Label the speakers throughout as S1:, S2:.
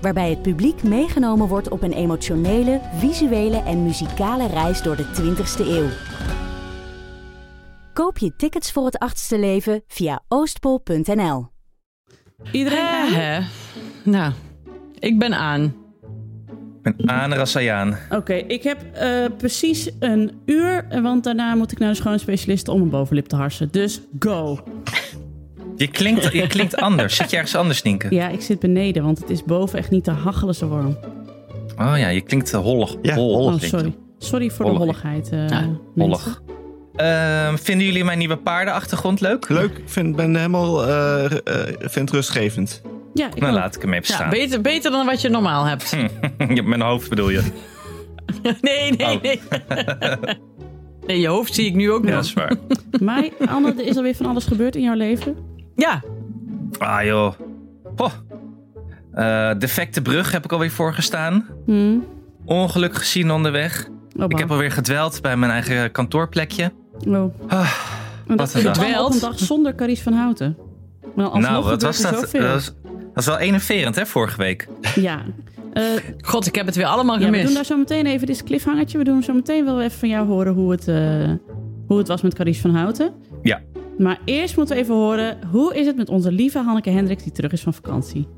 S1: Waarbij het publiek meegenomen wordt op een emotionele, visuele en muzikale reis door de 20ste eeuw. Koop je tickets voor het achtste leven via oostpol.nl.
S2: Iedereen aan?
S3: Hè? Nou, ik ben aan.
S4: Ik ben Aan Rassayaan.
S2: Oké, ik heb eh, precies een uur, want daarna moet ik naar de schoonspecialist om mijn bovenlip te harsen. Dus go!
S4: Je klinkt, je klinkt anders. Zit je ergens anders, Nienke?
S2: Ja, ik zit beneden, want het is boven echt niet te hachelen zo warm.
S4: Oh ja, je klinkt eh, hollig.
S5: Ja,
S4: Hol,
S5: hollig.
S2: Oh,
S4: klinkt
S2: sorry. Sorry voor de
S4: Hollig.
S2: holligheid. eh,
S4: Nou,
S3: Ja,
S2: mensen.
S4: Hollig. Ehm, vinden jullie mijn nieuwe paardenachtergrond leuk?
S5: Leuk, ik vind, ben helemaal eh, eh, vind het rustgevend.
S2: Ja, ik
S4: Nou,
S2: ook.
S4: laat ik hem even
S3: Ja,
S4: staan. Hm.
S3: beter, beter dan wat je normaal hebt.
S4: Ja, Mijn hoofd bedoel je.
S3: Nee, nee,
S4: Oh.
S3: nee. Nee, je hoofd zie ik nu ook
S4: Ja,
S3: nog.
S4: dat is waar.
S2: Mai, Anne, er is alweer van alles gebeurd in jouw leven.
S3: Ja,
S4: Ah joh. Ho. Eh, defecte brug heb ik alweer voor gestaan.
S2: Hmm.
S4: Ongeluk gezien onderweg.
S2: Oh,
S4: Ik heb
S2: bang.
S4: alweer gedweld bij mijn eigen kantoorplekje.
S2: Oh. En dat
S4: Ah, een
S2: is
S4: dag.
S2: allemaal op een
S3: Dwelt.
S2: dag zonder Caries van Houten. Maar alsnog
S4: nou, wat
S2: gebeurt
S4: was
S2: er
S4: dat?
S2: zoveel.
S4: Dat was, dat was wel enerverend, hè, vorige week.
S2: Ja. Eh,
S3: god, ik heb het weer allemaal
S2: ja, we doen
S3: gemist.
S2: daar zo meteen even dit is cliffhangertje. We doen zo meteen wel even van jou horen hoe het, eh, hoe het was met Caries van Houten.
S4: Ja.
S2: Maar eerst moeten we even horen hoe is het met onze lieve Hanneke Hendricks die terug is van vakantie.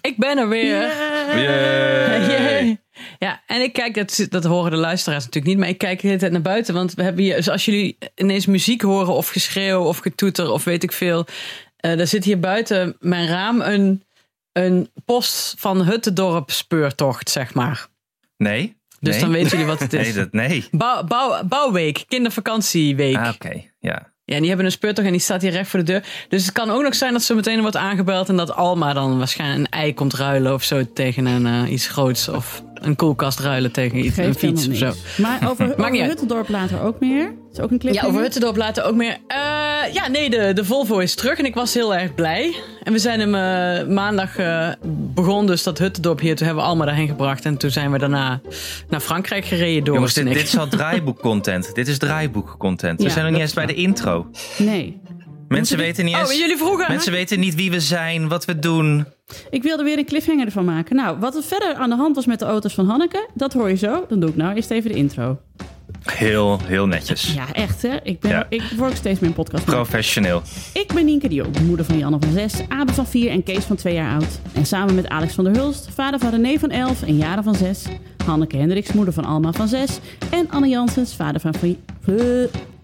S3: Ik ben er weer.
S4: Yay.
S3: Ja, en ik kijk, dat, dat horen de luisteraars natuurlijk niet, maar ik kijk de hele tijd naar buiten. Want we hebben hier, dus als jullie ineens muziek horen of geschreeuw of getoeter of weet ik veel. eh er zit hier buiten mijn raam een, een post van Huttendorp speurtocht, zeg maar.
S4: Nee?
S3: Dus
S4: nee.
S3: dan weten jullie wat het is.
S4: Nee, dat, nee.
S3: Bouw, bouw, bouwweek, kindervakantieweek.
S4: Ah, oké. Ja.
S3: Ja, en die hebben een speurtocht en die staat hier recht voor de deur. Dus het kan ook nog zijn dat ze meteen wordt aangebeld en dat Alma dan waarschijnlijk een ei komt ruilen of zo tegen een, eh, iets groots. Of een koelkast ruilen tegen iets, een
S2: Geeft helemaal
S3: fiets of zo.
S2: niks. Maar over, over
S3: niet uit.
S2: Huttendorp later ook meer. Is ook een cliffhanger.
S3: Ja, over Huttendorp later ook meer. Eh, ja, nee, de, de Volvo is terug en ik was heel erg blij. En we zijn hem eh, maandag eh, begonnen, dus dat Huttendorp hier. Toen hebben we Alma daarheen gebracht en toen zijn we daarna naar Frankrijk gereden door.
S4: Jongens, dit, dit is al draaiboek-content. dit is draaiboek-content.
S2: Ja,
S4: we zijn nog niet eens
S2: dat
S4: bij de intro.
S2: Nee.
S4: Mensen weten niet
S3: Oh,
S4: eens...
S3: en jullie vroegen.
S4: Mensen weten niet wie we zijn, wat we doen.
S2: Ik wilde weer een cliffhanger ervan maken. Nou, wat er verder aan de hand was met de auto's van Hanneke, dat hoor je zo. Dan doe ik nou eerst even de intro.
S4: Heel, heel netjes.
S2: Ja, echt hè. Ik, ben,
S4: Ja.
S2: ik word ook steeds meer podcast.
S4: Professioneel.
S2: Ik ben Nienke de Jong, moeder van Janne van 6, Abe van 4 en Kees van 2 jaar oud. En samen met Alex van der Hulst, vader van René van 11 en Jaren van 6. Hanneke Hendricks, moeder van Alma van 6. En Anne Jansens, vader van... van eh,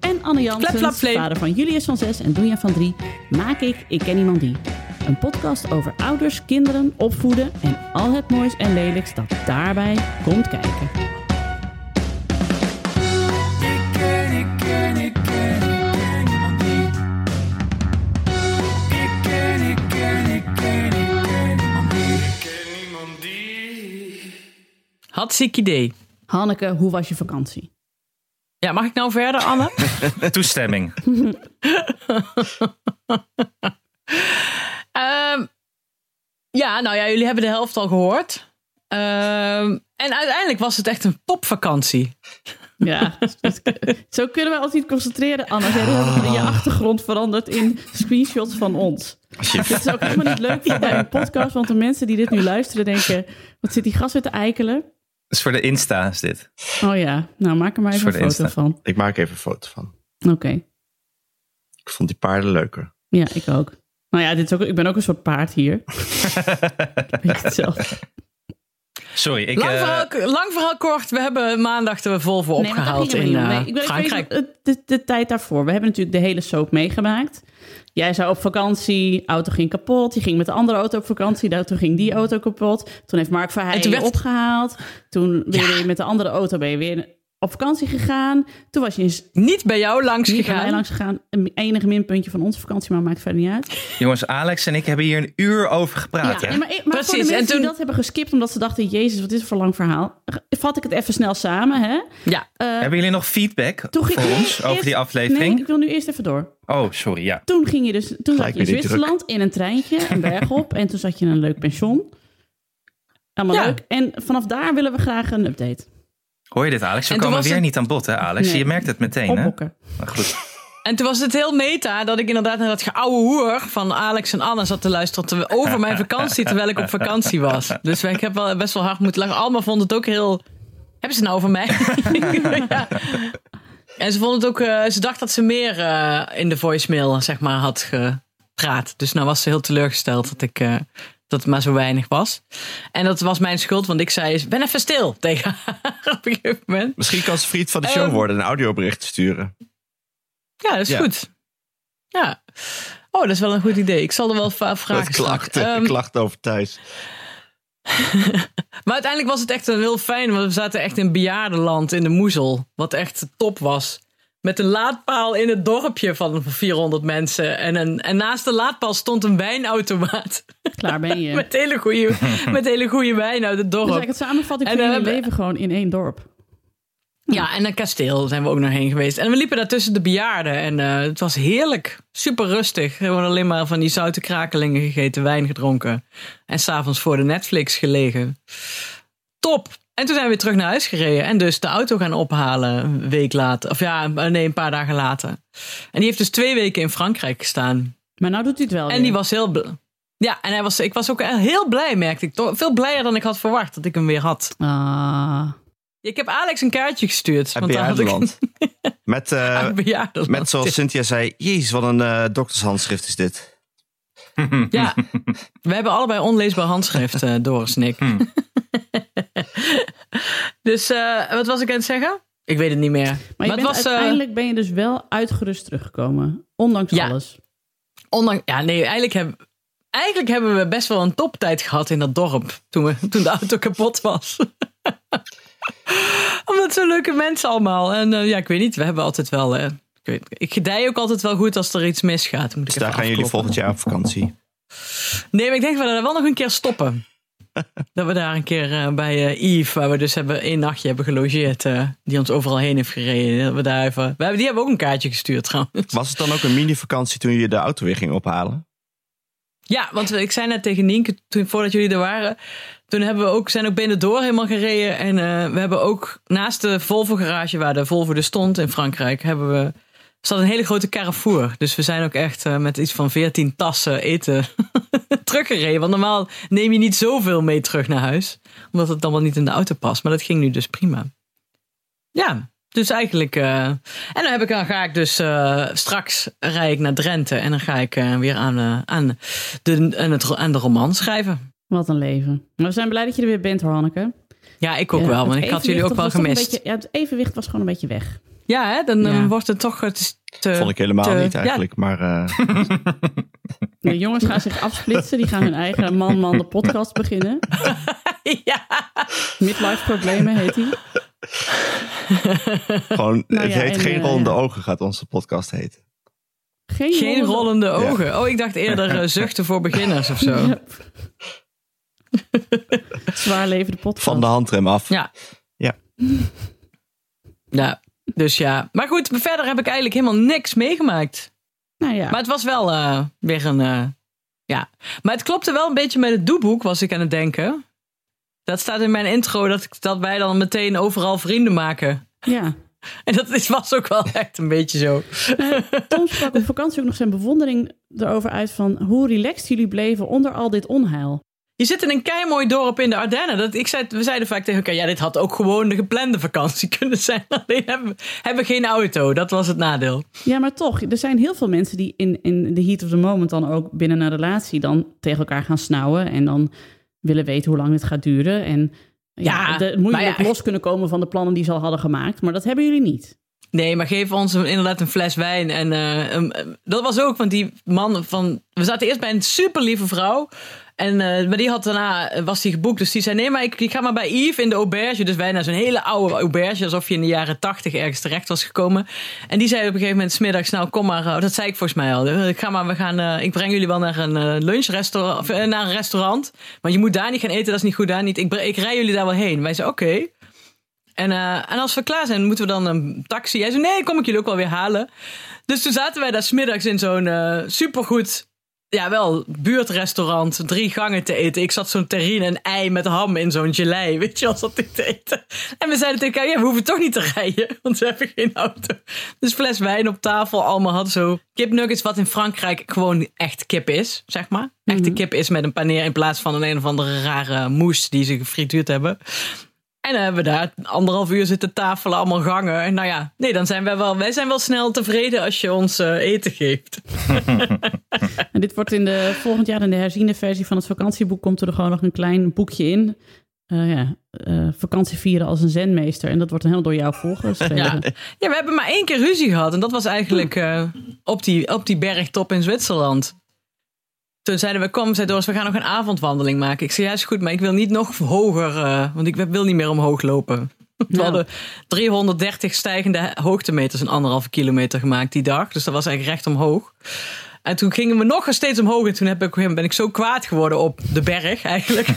S2: en Anne Jansens,
S3: Flap, flap, flap.
S2: vader van Julius van 6 en Doenja van 3. Maak ik Ik Ken Iemand Die. Een podcast over ouders, kinderen, opvoeden en al het moois en lelijks dat daarbij komt kijken.
S3: Had ziek idee.
S2: Hanneke, hoe was je vakantie?
S3: Ja, mag ik nou verder, Anne?
S4: Toestemming.
S3: Ehm, ja, nou ja, jullie hebben de helft al gehoord. Ehm, en uiteindelijk was het echt een topvakantie.
S2: Ja, dat- zo kunnen we ons niet concentreren, Anna. Jij hebt
S4: Ah.
S2: je achtergrond veranderd in screenshots van ons. Dat is ook helemaal niet leuk voor bij een podcast, want de mensen die dit nu luisteren denken... wat zit die gast weer te eikelen?
S4: Dat is voor de Insta, is dit.
S2: Oh ja, nou maak er maar even
S4: Voor
S2: een
S4: de
S2: foto
S4: Insta.
S2: van.
S5: Ik maak even een foto van.
S2: Oké,
S5: Ik vond die paarden leuker.
S2: ja, ik ook. Nou ja, dit is ook, ik ben ook een soort paard hier. Weet je het zelf.
S4: Sorry, ik...
S3: Lang,
S4: eh,
S3: verhaal, lang verhaal kort, we hebben maandag de Volvo
S2: Nee, maar dat
S3: opgehaald
S2: ging
S3: in
S2: helemaal niet om.
S3: eh,
S2: Nee, ik ben even
S3: Frankrijk.
S2: bezig met de, de tijd daarvoor. We hebben natuurlijk de hele soap meegemaakt. Jij zou op vakantie, auto ging kapot. Je ging met de andere auto op vakantie, de auto ging die auto kapot. Toen heeft Mark Verheij
S3: En toen
S2: je
S3: werd-
S2: opgehaald. Toen ben je met de andere auto ben je weer op vakantie gegaan. Toen was je eens
S3: Niet bij jou langs
S2: niet bij
S3: gegaan.
S2: mij langs gegaan. Een enige minpuntje van onze vakantie, maar maakt verder niet uit.
S4: Jongens, Alex en ik hebben hier een uur over gepraat.
S2: ja,
S4: hè?
S2: en maar, maar voor
S3: Precies,
S2: de mensen
S3: en toen-
S2: die dat hebben geskipt omdat ze dachten, jezus, wat is het voor lang verhaal. Vat ik het even snel samen, hè?
S3: Ja,
S4: Hebben jullie nog feedback
S2: Toen ging-
S4: voor
S2: nee,
S4: ons over
S2: eerst-
S4: die aflevering?
S2: Nee, ik wil nu eerst even door.
S4: Oh, sorry, ja.
S2: Toen ging je dus, toen zat je in
S5: weer die
S2: Zwitserland in een treintje, een berg op. en toen zat je in een leuk pension. Allemaal
S3: Ja.
S2: leuk. En vanaf daar willen we graag een update.
S4: Hoor je dit, Alex? We
S3: En toen
S4: komen
S3: was
S4: weer
S3: het-
S4: niet aan bod, hè, Alex?
S2: Nee.
S4: Je merkt het meteen, hè?
S2: Opbokken.
S4: Maar goed.
S3: en toen was het heel meta dat ik inderdaad naar dat geouwe hoer van Alex en Anna zat te luisteren terwijl- over mijn vakantie, terwijl ik op vakantie was. Dus wij- ik heb wel best wel hard moeten lachen. Alma vond het ook heel... Hebben ze het nou over mij? ja. En ze vond het ook... eh, ze dacht dat ze meer eh, in de voicemail, zeg maar, had gepraat. Dus nou was ze heel teleurgesteld dat ik... eh, dat het maar zo weinig was. En dat was mijn schuld, want ik zei... eens, Ben even stil tegen haar op een gegeven moment.
S5: Misschien kan ze vriend van de show
S3: Ehm.
S5: worden en een audiobericht sturen.
S3: Ja, dat is
S5: Ja.
S3: goed. Ja. Oh, dat is wel een goed idee. Ik zal er wel va- vragen
S5: Met
S3: stellen.
S5: klachten,
S3: Ehm,
S5: klachten over Thijs.
S3: Maar uiteindelijk was het echt een heel fijn, want we zaten echt in bejaardenland in de Moezel. Wat echt top was. Met een laadpaal in het dorpje van 400 mensen. En, een, en naast de laadpaal stond een wijnautomaat.
S2: Klaar ben je.
S3: Met hele goede, met hele goede wijn uit het
S2: Dus
S3: dorp.
S2: eigenlijk het samenvatting
S3: En eh,
S2: van
S3: dan
S2: jullie
S3: hebben-
S2: leven gewoon in één dorp.
S3: Ja, en een kasteel zijn we ook nog heen geweest. En we liepen daar tussen de bejaarden. En eh, het was heerlijk. Super rustig. Gewoon alleen maar van die zoute krakelingen gegeten, wijn gedronken. En s'avonds voor de Netflix gelegen. Top! En toen zijn we weer terug naar huis gereden. En dus de auto gaan ophalen een week later. Of ja, nee, een paar dagen later. En die heeft dus twee weken in Frankrijk gestaan.
S2: Maar nou doet u het wel
S3: En die
S2: weer.
S3: was heel... bl- Ja, en hij was, ik was ook heel blij, merkte ik. Toch Veel blijer dan ik had verwacht dat ik hem weer had.
S2: Ah.
S3: Ik heb Alex een kaartje gestuurd.
S5: Uit
S3: daar had ik-
S5: bejaardenland. Met, eh,
S2: Ah,
S3: Uit bejaardenland.
S5: met zoals Cynthia zei, jezus, wat een eh, doktershandschrift is dit.
S3: Ja, we hebben allebei onleesbaar handschrift, eh, Doris en ik.
S5: Hmm.
S3: dus eh, wat was ik aan het zeggen? Ik weet het niet meer.
S2: Maar je
S3: het
S2: bent,
S3: was, eh,
S2: uiteindelijk ben je dus wel uitgerust teruggekomen. Ondanks
S3: Ja.
S2: alles.
S3: ondanks, ja, nee, eigenlijk, heb, eigenlijk hebben we best wel een toptijd gehad in dat dorp. Toen, we, toen de auto kapot was. Omdat zo leuke mensen allemaal. En eh, ja, ik weet niet, we hebben altijd wel... eh, ik, weet, ik gedij ook altijd wel goed als er iets misgaat. Moet ik
S5: Dus daar
S3: even
S5: gaan jullie
S3: afkloppen.
S5: volgend jaar op vakantie.
S3: Nee, maar ik denk dat we daar wel nog een keer stoppen. dat we daar een keer eh, bij eh, Yves, waar we dus hebben één nachtje hebben gelogeerd, eh, die ons overal heen heeft gereden. Dat we daar even, we hebben, die hebben ook een kaartje gestuurd trouwens.
S5: Was het dan ook een mini-vakantie toen je de auto weer ging ophalen?
S3: Ja, want ik zei net tegen Nienke, toen, voordat jullie er waren, toen hebben we ook, zijn ook Benidorm helemaal gereden. En eh, we hebben ook naast de Volvo garage, waar de Volvo dus stond in Frankrijk, hebben we, zat een hele grote Carrefour. Dus we zijn ook echt eh, met iets van 14 tassen eten teruggereden. Want normaal neem je niet zoveel mee terug naar huis, omdat het allemaal niet in de auto past. Maar dat ging nu dus prima. Ja, dus eigenlijk. eh, en dan, heb ik, dan ga ik dus eh, straks rij ik naar Drenthe en dan ga ik eh, weer aan, eh, aan, de, aan, het, aan de roman schrijven.
S2: Wat een leven. Maar we zijn blij dat je er weer bent hoor, Hanneke.
S3: Ja, ik ook
S2: Ja,
S3: wel, want
S2: het
S3: ik had jullie
S2: evenwicht
S3: ook wel
S2: was toch een
S3: gemist.
S2: beetje- ja, het evenwicht was gewoon een beetje weg.
S3: Ja, hè, dan eh,
S2: Ja.
S3: wordt het toch. Het is
S2: Eh,
S3: te-
S5: Vond ik helemaal
S3: te-
S5: niet
S3: ja.
S5: eigenlijk, maar... eh,
S2: De jongens gaan zich afsplitsen. Die gaan hun eigen man-man de podcast beginnen.
S3: ja.
S2: Midlife problemen heet die.
S5: Gewoon,
S2: Nou
S5: het
S2: ja,
S5: heet
S2: en,
S5: Geen
S2: eh,
S5: rollende
S2: ja.
S5: ogen gaat onze podcast heten.
S2: Geen,
S3: Geen
S2: rollende-
S3: rollende ogen. Oh, ik dacht eerder eh, zuchten voor beginners of zo.
S2: Ja. Zwaar leven de podcast.
S5: Van de handrem af.
S3: Ja.
S5: Ja.
S3: Ja, dus ja. Maar goed, verder heb ik eigenlijk helemaal niks meegemaakt.
S2: Nou ja.
S3: Maar het was wel eh, weer een. eh, ja. Maar het klopte wel een beetje met het doeboek, was ik aan het denken. Dat staat in mijn intro dat, ik- dat wij dan meteen overal vrienden maken.
S2: ja.
S3: En dat is, was ook wel echt een beetje zo.
S2: Tom sprak op vakantie ook nog zijn bewondering erover uit van hoe relaxed jullie bleven onder al dit onheil.
S3: Je zit in een keimooi dorp in de Ardennen. Dat, ik zei, we zeiden vaak tegen elkaar, ja, dit had ook gewoon de geplande vakantie kunnen zijn. Alleen hebben, we- hebben we geen auto, dat was het nadeel.
S2: Ja, maar toch, er zijn heel veel mensen die in, in the heat of the moment dan ook binnen een relatie dan tegen elkaar gaan snauwen en dan willen weten hoe lang het gaat duren. En ja,
S3: Ja,
S2: de, moeilijk
S3: maar ja.
S2: los kunnen komen van de plannen die ze al hadden gemaakt. Maar dat hebben jullie niet.
S3: Nee, maar geef ons een- inderdaad een fles wijn. En eh, een- een- dat was ook, want die man van. We zaten eerst bij een superlieve vrouw. En, eh, maar die had daarna, eh, was die geboekt. Dus die zei, nee, maar ik, ik ga maar bij Yves in de auberge. Dus wij naar zo'n hele oude auberge. Alsof je in de jaren tachtig ergens terecht was gekomen. En die zei op een gegeven moment, smiddags, nou kom maar. eh, dat zei ik volgens mij al. Eh, Ik, ga maar, we gaan, eh, ik breng jullie wel naar een eh, lunchrestaurant. Of, eh, naar een restaurant. Maar je moet daar niet gaan eten, dat is niet goed daar niet. Ik, bre- ik rij jullie daar wel heen. Wij zeiden, oké. En, eh, en als we klaar zijn, moeten we dan een taxi? Hij zei, nee, kom ik jullie ook wel weer halen. Dus toen zaten wij daar smiddags in zo'n eh, supergoed, ja wel, buurtrestaurant. Drie gangen te eten. Ik zat zo'n terrine en ei met ham in zo'n gelei, weet je, als dat ik te eten. En we zeiden tegen elkaar, ja, we hoeven toch niet te rijden, want we hebben geen auto. Dus fles wijn op tafel, allemaal had zo kipnuggets, wat in Frankrijk gewoon echt kip is, zeg maar. Echte kip is met een paneer in plaats van een een of andere rare moes die ze gefrituurd hebben. En dan hebben we daar anderhalf uur zitten tafelen, allemaal gangen. En nou ja, nee, dan zijn wij wel, wij zijn wel snel tevreden als je ons eh, eten geeft.
S2: En dit wordt in de volgend jaar in de herziende versie van het vakantieboek komt er gewoon nog een klein boekje in. Eh, ja, eh, vakantie vieren als een zenmeester. En dat wordt dan helemaal door jou voorgeschreven.
S3: Ja. ja, we hebben maar één keer ruzie gehad. En dat was eigenlijk eh, op, die, op die bergtop in Zwitserland. Toen zeiden we, kom, zei Doris, we gaan nog een avondwandeling maken. Ik zei, ja, is goed, maar ik wil niet nog hoger, eh, want ik wil niet meer omhoog lopen. We
S2: Nou.
S3: hadden 330 stijgende hoogtemeters en anderhalve kilometer gemaakt die dag. Dus dat was eigenlijk recht omhoog. En toen gingen we nog steeds omhoog. En toen heb ik, ben ik zo kwaad geworden op de berg eigenlijk.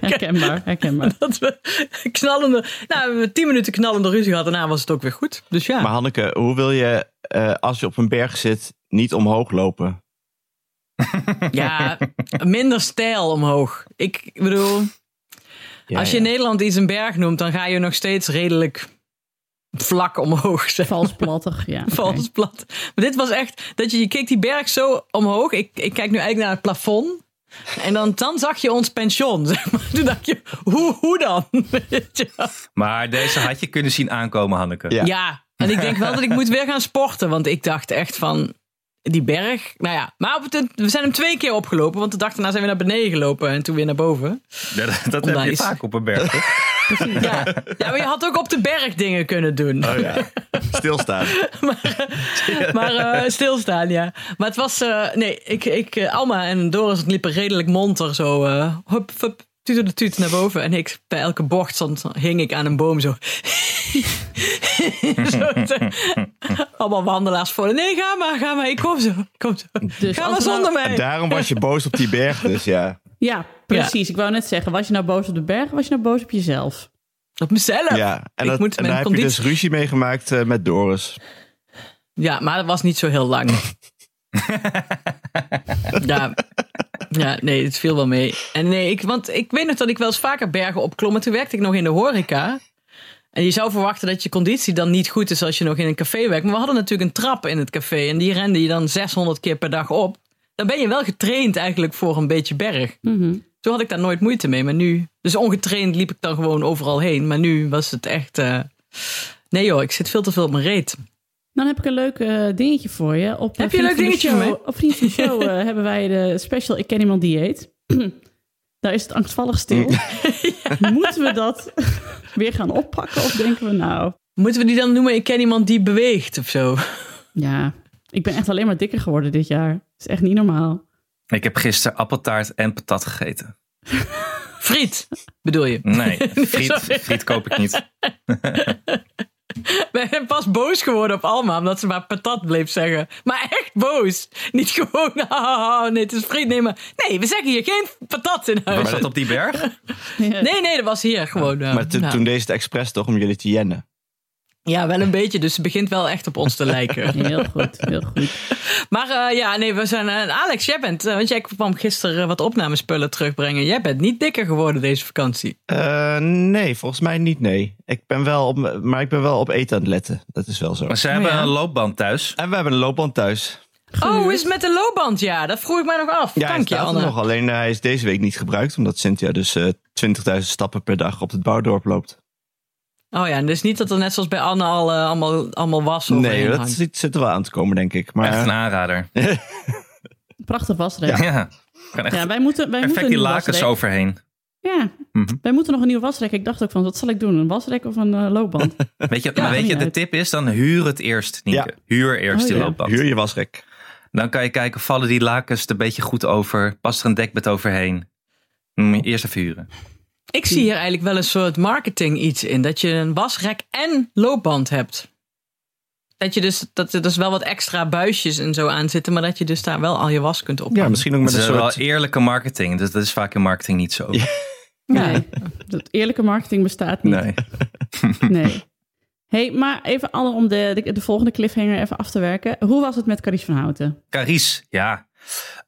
S2: Herkenbaar, herkenbaar.
S3: dat we knallende... Nou, we hebben tien minuten knallende ruzie gehad. Daarna was het ook weer goed. Dus ja.
S5: Maar Hanneke, hoe wil je eh, als je op een berg zit niet omhoog lopen?
S3: Ja, minder stijl omhoog. Ik bedoel, als je in Nederland iets een berg noemt, dan ga je nog steeds redelijk vlak omhoog. Zeg.
S2: Vals plattig, ja. oké.
S3: Vals plat. Maar dit was echt, dat je, je keek die berg zo omhoog. Ik, ik kijk nu eigenlijk naar het plafond. En dan, dan zag je ons pension. Zeg maar. Toen dacht je, hoe, hoe dan? Weet je wel.
S4: Maar deze had je kunnen zien aankomen, Hanneke.
S5: Ja.
S3: Ja, en ik denk wel dat ik moet weer gaan sporten. Want ik dacht echt van die berg. Nou ja, maar op het, we zijn hem twee keer opgelopen. Want de dag daarna zijn we naar beneden gelopen en toen weer naar boven.
S4: Dat, dat heb je
S3: Onwijs.
S4: vaak op een berg. hè?
S3: Ja. ja, maar je had ook op de berg dingen kunnen doen.
S5: Oh ja, stilstaan.
S3: Maar eh, stilstaan, ja. Maar het was... eh, nee, ik, ik, eh, Alma en Doris liepen redelijk monter zo. eh hup, hup, tuut de tuut naar boven. En ik bij elke bocht stond, hing ik aan een boom zo. Zo te- allemaal wandelaars voor. Nee, ga maar, ga maar. Ik kom zo. ik Kom zo.
S2: Dus
S3: ga
S2: als
S3: maar
S2: we nou-
S3: zonder mij.
S5: En daarom was je boos op die berg dus, ja.
S2: Ja, precies. Ik wou net zeggen, was je nou boos op de berg? Was je nou boos op jezelf?
S3: Op mezelf.
S5: ja. En,
S3: ik
S5: dat,
S3: moet
S5: en
S3: mijn
S5: daar heb je
S3: conditie-
S5: dus ruzie mee gemaakt eh, met Doris.
S3: Ja, maar dat was niet zo heel lang. ja. ja, nee, het viel wel mee. En nee, ik, want ik weet nog dat ik wel eens vaker bergen opklom. En toen werkte ik nog in de horeca. En je zou verwachten dat je conditie dan niet goed is als je nog in een café werkt. Maar we hadden natuurlijk een trap in het café. En die rende je dan 600 keer per dag op. Dan ben je wel getraind eigenlijk voor een beetje berg. Toen had ik daar nooit moeite mee. Maar nu, dus ongetraind liep ik dan gewoon overal heen. Maar nu was het echt... eh, Nee joh, ik zit veel te veel op mijn reet.
S2: Dan heb ik een leuk eh, dingetje voor je. Op, eh,
S3: Heb je een
S2: Vriend
S3: leuk
S2: van de
S3: dingetje voor
S2: Show- Op Vriend van de Show eh, hebben wij de special Ik Ken Iemand Dieet. Daar is het angstvallig stil. Moeten we dat weer gaan oppakken? Of denken we nou,
S3: Moeten we die dan noemen? Ik ken iemand die beweegt of zo.
S2: ja, ik ben echt alleen maar dikker geworden dit jaar. Dat is echt niet normaal.
S4: Ik heb gisteren appeltaart en patat gegeten.
S3: Friet, bedoel je?
S4: Nee, friet,
S3: sorry.
S4: friet koop ik niet.
S2: Oh,
S3: We zijn pas boos geworden op Alma omdat ze maar patat bleef zeggen. Maar echt boos. Niet gewoon, oh, nee, het is friet. Nee, maar nee, we zeggen hier geen patat in huis.
S4: Was dat op die berg?
S2: Oh,
S3: Nee, nee, dat was hier gewoon. eh,
S5: Maar to-
S3: nou.
S5: toen deed ze het expres toch om jullie te jennen.
S3: Ja, wel een beetje. Dus ze begint wel echt op ons te lijken.
S2: Heel goed, heel goed.
S3: Maar eh, ja, nee, we zijn. eh, Alex, jij bent. eh, want jij kwam gisteren eh, wat opnamespullen terugbrengen. Jij bent niet dikker geworden deze vakantie.
S5: Eh, nee, volgens mij niet, nee. Ik ben wel op, maar ik ben wel op eten aan het letten. Dat is wel zo.
S4: Maar ze hebben
S3: ja.
S4: een loopband thuis.
S5: En we hebben een loopband thuis.
S3: Oh, is het met de loopband? Ja, dat vroeg ik mij nog af.
S5: Ja, hij
S3: Dank je,
S5: staat er
S3: Anne.
S5: nog. Alleen eh, hij is deze week niet gebruikt, omdat Cynthia dus eh 20.000 stappen per dag op het bouwdorp loopt.
S3: Oh ja, en dus niet dat er net zoals bij Anne al eh, allemaal, allemaal was. overheen
S5: nee, dat
S3: hangt.
S5: zit, zit er wel aan te komen, denk ik. Maar
S4: Echt een aanrader.
S2: Prachtig wasrek.
S4: Ja.
S2: Ja,
S4: Kan echt
S2: wij moeten, wij moeten
S4: perfect
S2: een
S4: die
S2: nieuw
S4: lakens
S2: wasrek.
S4: overheen.
S2: Ja,
S4: Mhm.
S2: wij moeten nog een nieuw wasrek. Ik dacht ook van, wat zal ik doen? Een wasrek of een eh, loopband?
S4: Weet je, maar
S2: maakt
S4: weet je,
S2: niet
S4: de
S2: uit.
S4: tip is dan huur het eerst, Nienke.
S5: Ja.
S4: Huur eerst
S2: Oh,
S4: die
S2: ja.
S4: loopband.
S5: huur je wasrek.
S4: Dan kan je kijken, vallen die lakens er een beetje goed over? Past er een dekbed overheen? Hm, eerst even huren.
S3: Ik zie hier eigenlijk wel een soort marketing iets in. Dat je een wasrek en loopband hebt. Dat je dus, dat er dus wel wat extra buisjes en zo aan zitten. Maar dat je dus daar wel al je was kunt op.
S5: Ja, misschien ook
S4: Het
S5: met een
S4: is wel
S5: soort...
S4: eerlijke marketing. Dus dat is vaak in marketing niet zo.
S5: Ja.
S2: Nee, dat eerlijke marketing bestaat niet.
S4: Nee.
S2: Nee. hey, maar even alle om de, de, de volgende cliffhanger even af te werken. Hoe was het met Carice van Houten?
S4: Caries, ja.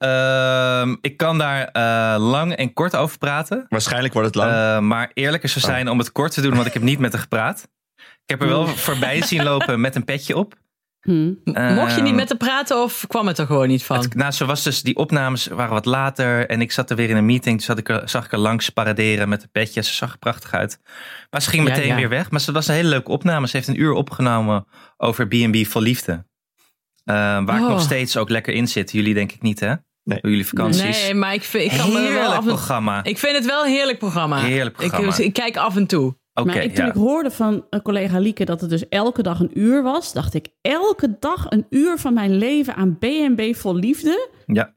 S4: Ehm, ik kan daar eh, lang en kort over praten.
S5: Waarschijnlijk wordt het lang.
S4: Eh, maar eerlijker zou zijn om het kort te doen, want ik heb niet met haar gepraat. Ik heb er wel voorbij zien lopen met een petje op.
S2: Hm.
S3: Hmm. Mocht je niet
S4: Ehm,
S3: met haar praten of kwam het er gewoon niet van?
S4: Het- nou, ze was dus, die opnames waren wat later. En ik zat er weer in een meeting. Toen zat ik er, zag ik er langs paraderen met een petje. Ze zag er prachtig uit. Maar ze ging
S3: Ja,
S4: meteen
S3: ja.
S4: weer weg. Maar ze het was een hele leuke opname. Ze heeft een uur opgenomen over B&B voor Liefde. Eh, waar ik
S3: Oh.
S4: nog steeds ook lekker in zit. Jullie denk ik niet, hè?
S5: Nee.
S4: Jullie vakanties.
S3: nee, maar ik vind, ik kan me er wel
S4: Heerlijk
S3: af en
S4: programma.
S3: Ik vind het wel een heerlijk programma.
S4: Heerlijk programma.
S3: Ik, ik kijk af en toe.
S4: Oké,
S2: maar ik, toen
S4: ja.
S2: ik hoorde van een collega Lieke dat het dus elke dag een uur was, dacht ik elke dag een uur van mijn leven aan BNB vol liefde.
S4: ja.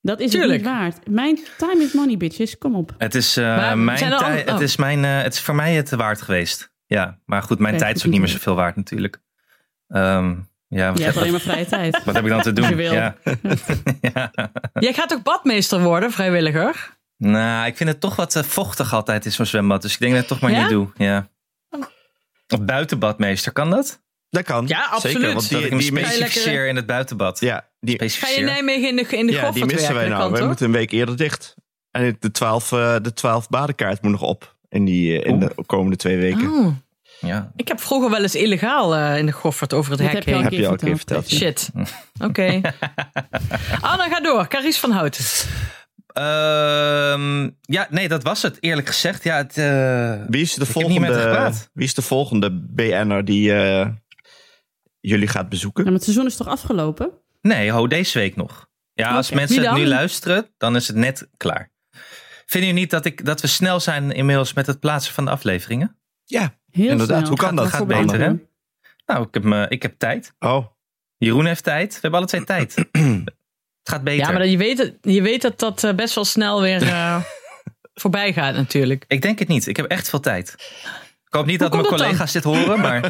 S2: Dat is
S3: Tuurlijk.
S2: het niet waard. Mijn time is money, bitches. Kom op.
S4: Het is, eh,
S3: Maar
S4: mijn
S3: zijn er
S4: tij-
S3: al- oh.
S4: het is mijn, eh, het is voor mij het waard geweest. Ja, maar goed, mijn
S2: Oké,
S4: tijd is
S2: goed.
S4: ook niet meer zoveel waard natuurlijk. Ehm, ja, wat
S2: Je hebt
S4: heb,
S2: alleen maar vrije tijd.
S4: wat heb ik dan te doen?
S2: je wil.
S4: Ja. ja.
S3: Jij gaat toch badmeester worden, vrijwilliger?
S4: Nou, ik vind het toch wat eh, vochtig altijd in zo'n zwembad. Dus ik denk dat ik het toch maar
S3: Ja? Oh.
S4: niet doe. Ja. Of buitenbadmeester, kan dat?
S5: dat kan.
S3: Ja, absoluut.
S5: Zeker, want
S4: dat
S5: die,
S4: ik me
S5: die, mensen-
S4: specificeer in het buitenbad.
S5: ja, die,
S3: Ga je
S4: Specificeer.
S3: Nijmegen in de, in de
S5: ja, die
S3: goffert
S5: missen wij
S3: werken? Dat
S5: nou. Wij
S3: kan toch?
S5: moeten een week eerder dicht. En de 12, eh, de 12 badenkaart moet nog op in, die, eh, in de komende twee weken.
S3: Oh.
S4: Ja.
S3: Ik heb vroeger wel eens illegaal eh, in de goffert over het
S2: Dat
S3: hek
S2: heb je al
S3: heen.
S5: Heb je al een keer verteld. ja.
S3: Shit. Oké. Anna, ga door. Caries van Houten.
S4: Ehm, ja, nee, dat was het. Eerlijk gezegd, ja, het, eh,
S5: Wie is, de
S4: heb niet met haar
S5: volgende,
S4: gepraat.
S5: wie is de volgende BN'er die eh, jullie gaat
S2: Ja,
S5: bezoeken?
S2: maar het seizoen is toch afgelopen?
S4: Nee, ho, deze week nog. Ja, als
S2: Oké.
S4: mensen
S3: Wie
S4: het nu
S3: dan?
S4: luisteren, dan is het net klaar. Vind je niet dat, ik, dat we snel zijn inmiddels met het plaatsen van de afleveringen?
S5: Ja.
S2: Heel
S5: Inderdaad,
S2: snel.
S5: hoe kan dat?
S2: wel
S4: Gaat
S2: voorbij
S4: beter, hè?
S2: dan.
S4: Nou, ik heb, me, ik heb tijd.
S5: Oh,
S4: Jeroen heeft tijd. We hebben alle twee tijd. het gaat beter.
S3: Ja, maar dat- je weet, dat- je weet dat dat eh, best wel snel weer eh, voorbij gaat natuurlijk.
S4: Ik denk het niet. Ik heb echt veel tijd. Ik hoop niet dat
S3: komt
S4: mijn
S3: dat dan?
S4: collega's dit horen, maar,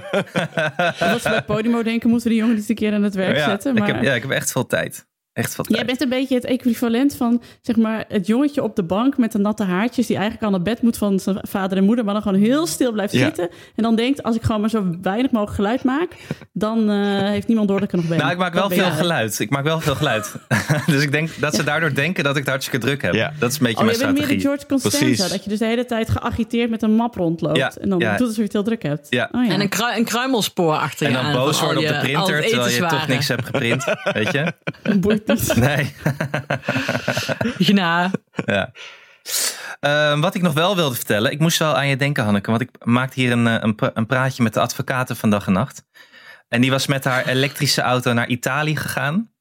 S2: Als we bij Podimo denken, moeten we die jongen eens een keer aan het werk
S4: ja,
S2: zetten.
S4: ik
S2: Maar
S4: heb, ja, ik heb echt veel tijd. Echt veel tijd.
S2: Jij bent een beetje het equivalent van zeg maar, het jongetje op de bank met de natte haartjes. die eigenlijk al naar bed moet van zijn vader en moeder. maar dan gewoon heel stil blijft
S5: Ja.
S2: zitten. En dan denkt: als ik gewoon maar zo weinig mogelijk geluid maak. dan eh, heeft niemand door dat ik er nog ben.
S4: Nou, ik maak wel
S2: Dat ben
S4: veel
S2: jij.
S4: geluid. Ik maak wel veel geluid. dus ik denk dat ze daardoor denken dat ik het hartstikke druk heb.
S5: Ja.
S4: Dat is een beetje
S2: Oh,
S4: mijn
S2: je bent meer de
S4: strategie.
S2: George Costanza.
S5: Precies.
S2: Dat je dus de hele tijd geagiteerd met een map rondloopt.
S4: Ja,
S2: en dan
S4: ja.
S2: doet alsof je het heel druk hebt.
S4: Ja.
S2: Oh, ja.
S3: En een, kru- een kruimelspoor achter
S4: En
S3: je
S4: dan
S3: aan
S4: boos
S3: van al
S4: worden op
S3: je-
S4: de
S3: al
S4: printer
S3: het
S4: terwijl je toch
S3: etenswaren.
S4: niks hebt geprint. Weet je?
S2: boeit niet.
S4: Nee.
S3: Gna.
S4: Ja. Ehm, wat ik nog wel wilde vertellen. Ik moest wel aan je denken, Hanneke. Want ik maakte hier een, eh, een, pra- een praatje met de advocaten van dag en nacht. En die was met haar elektrische auto naar Italië gegaan.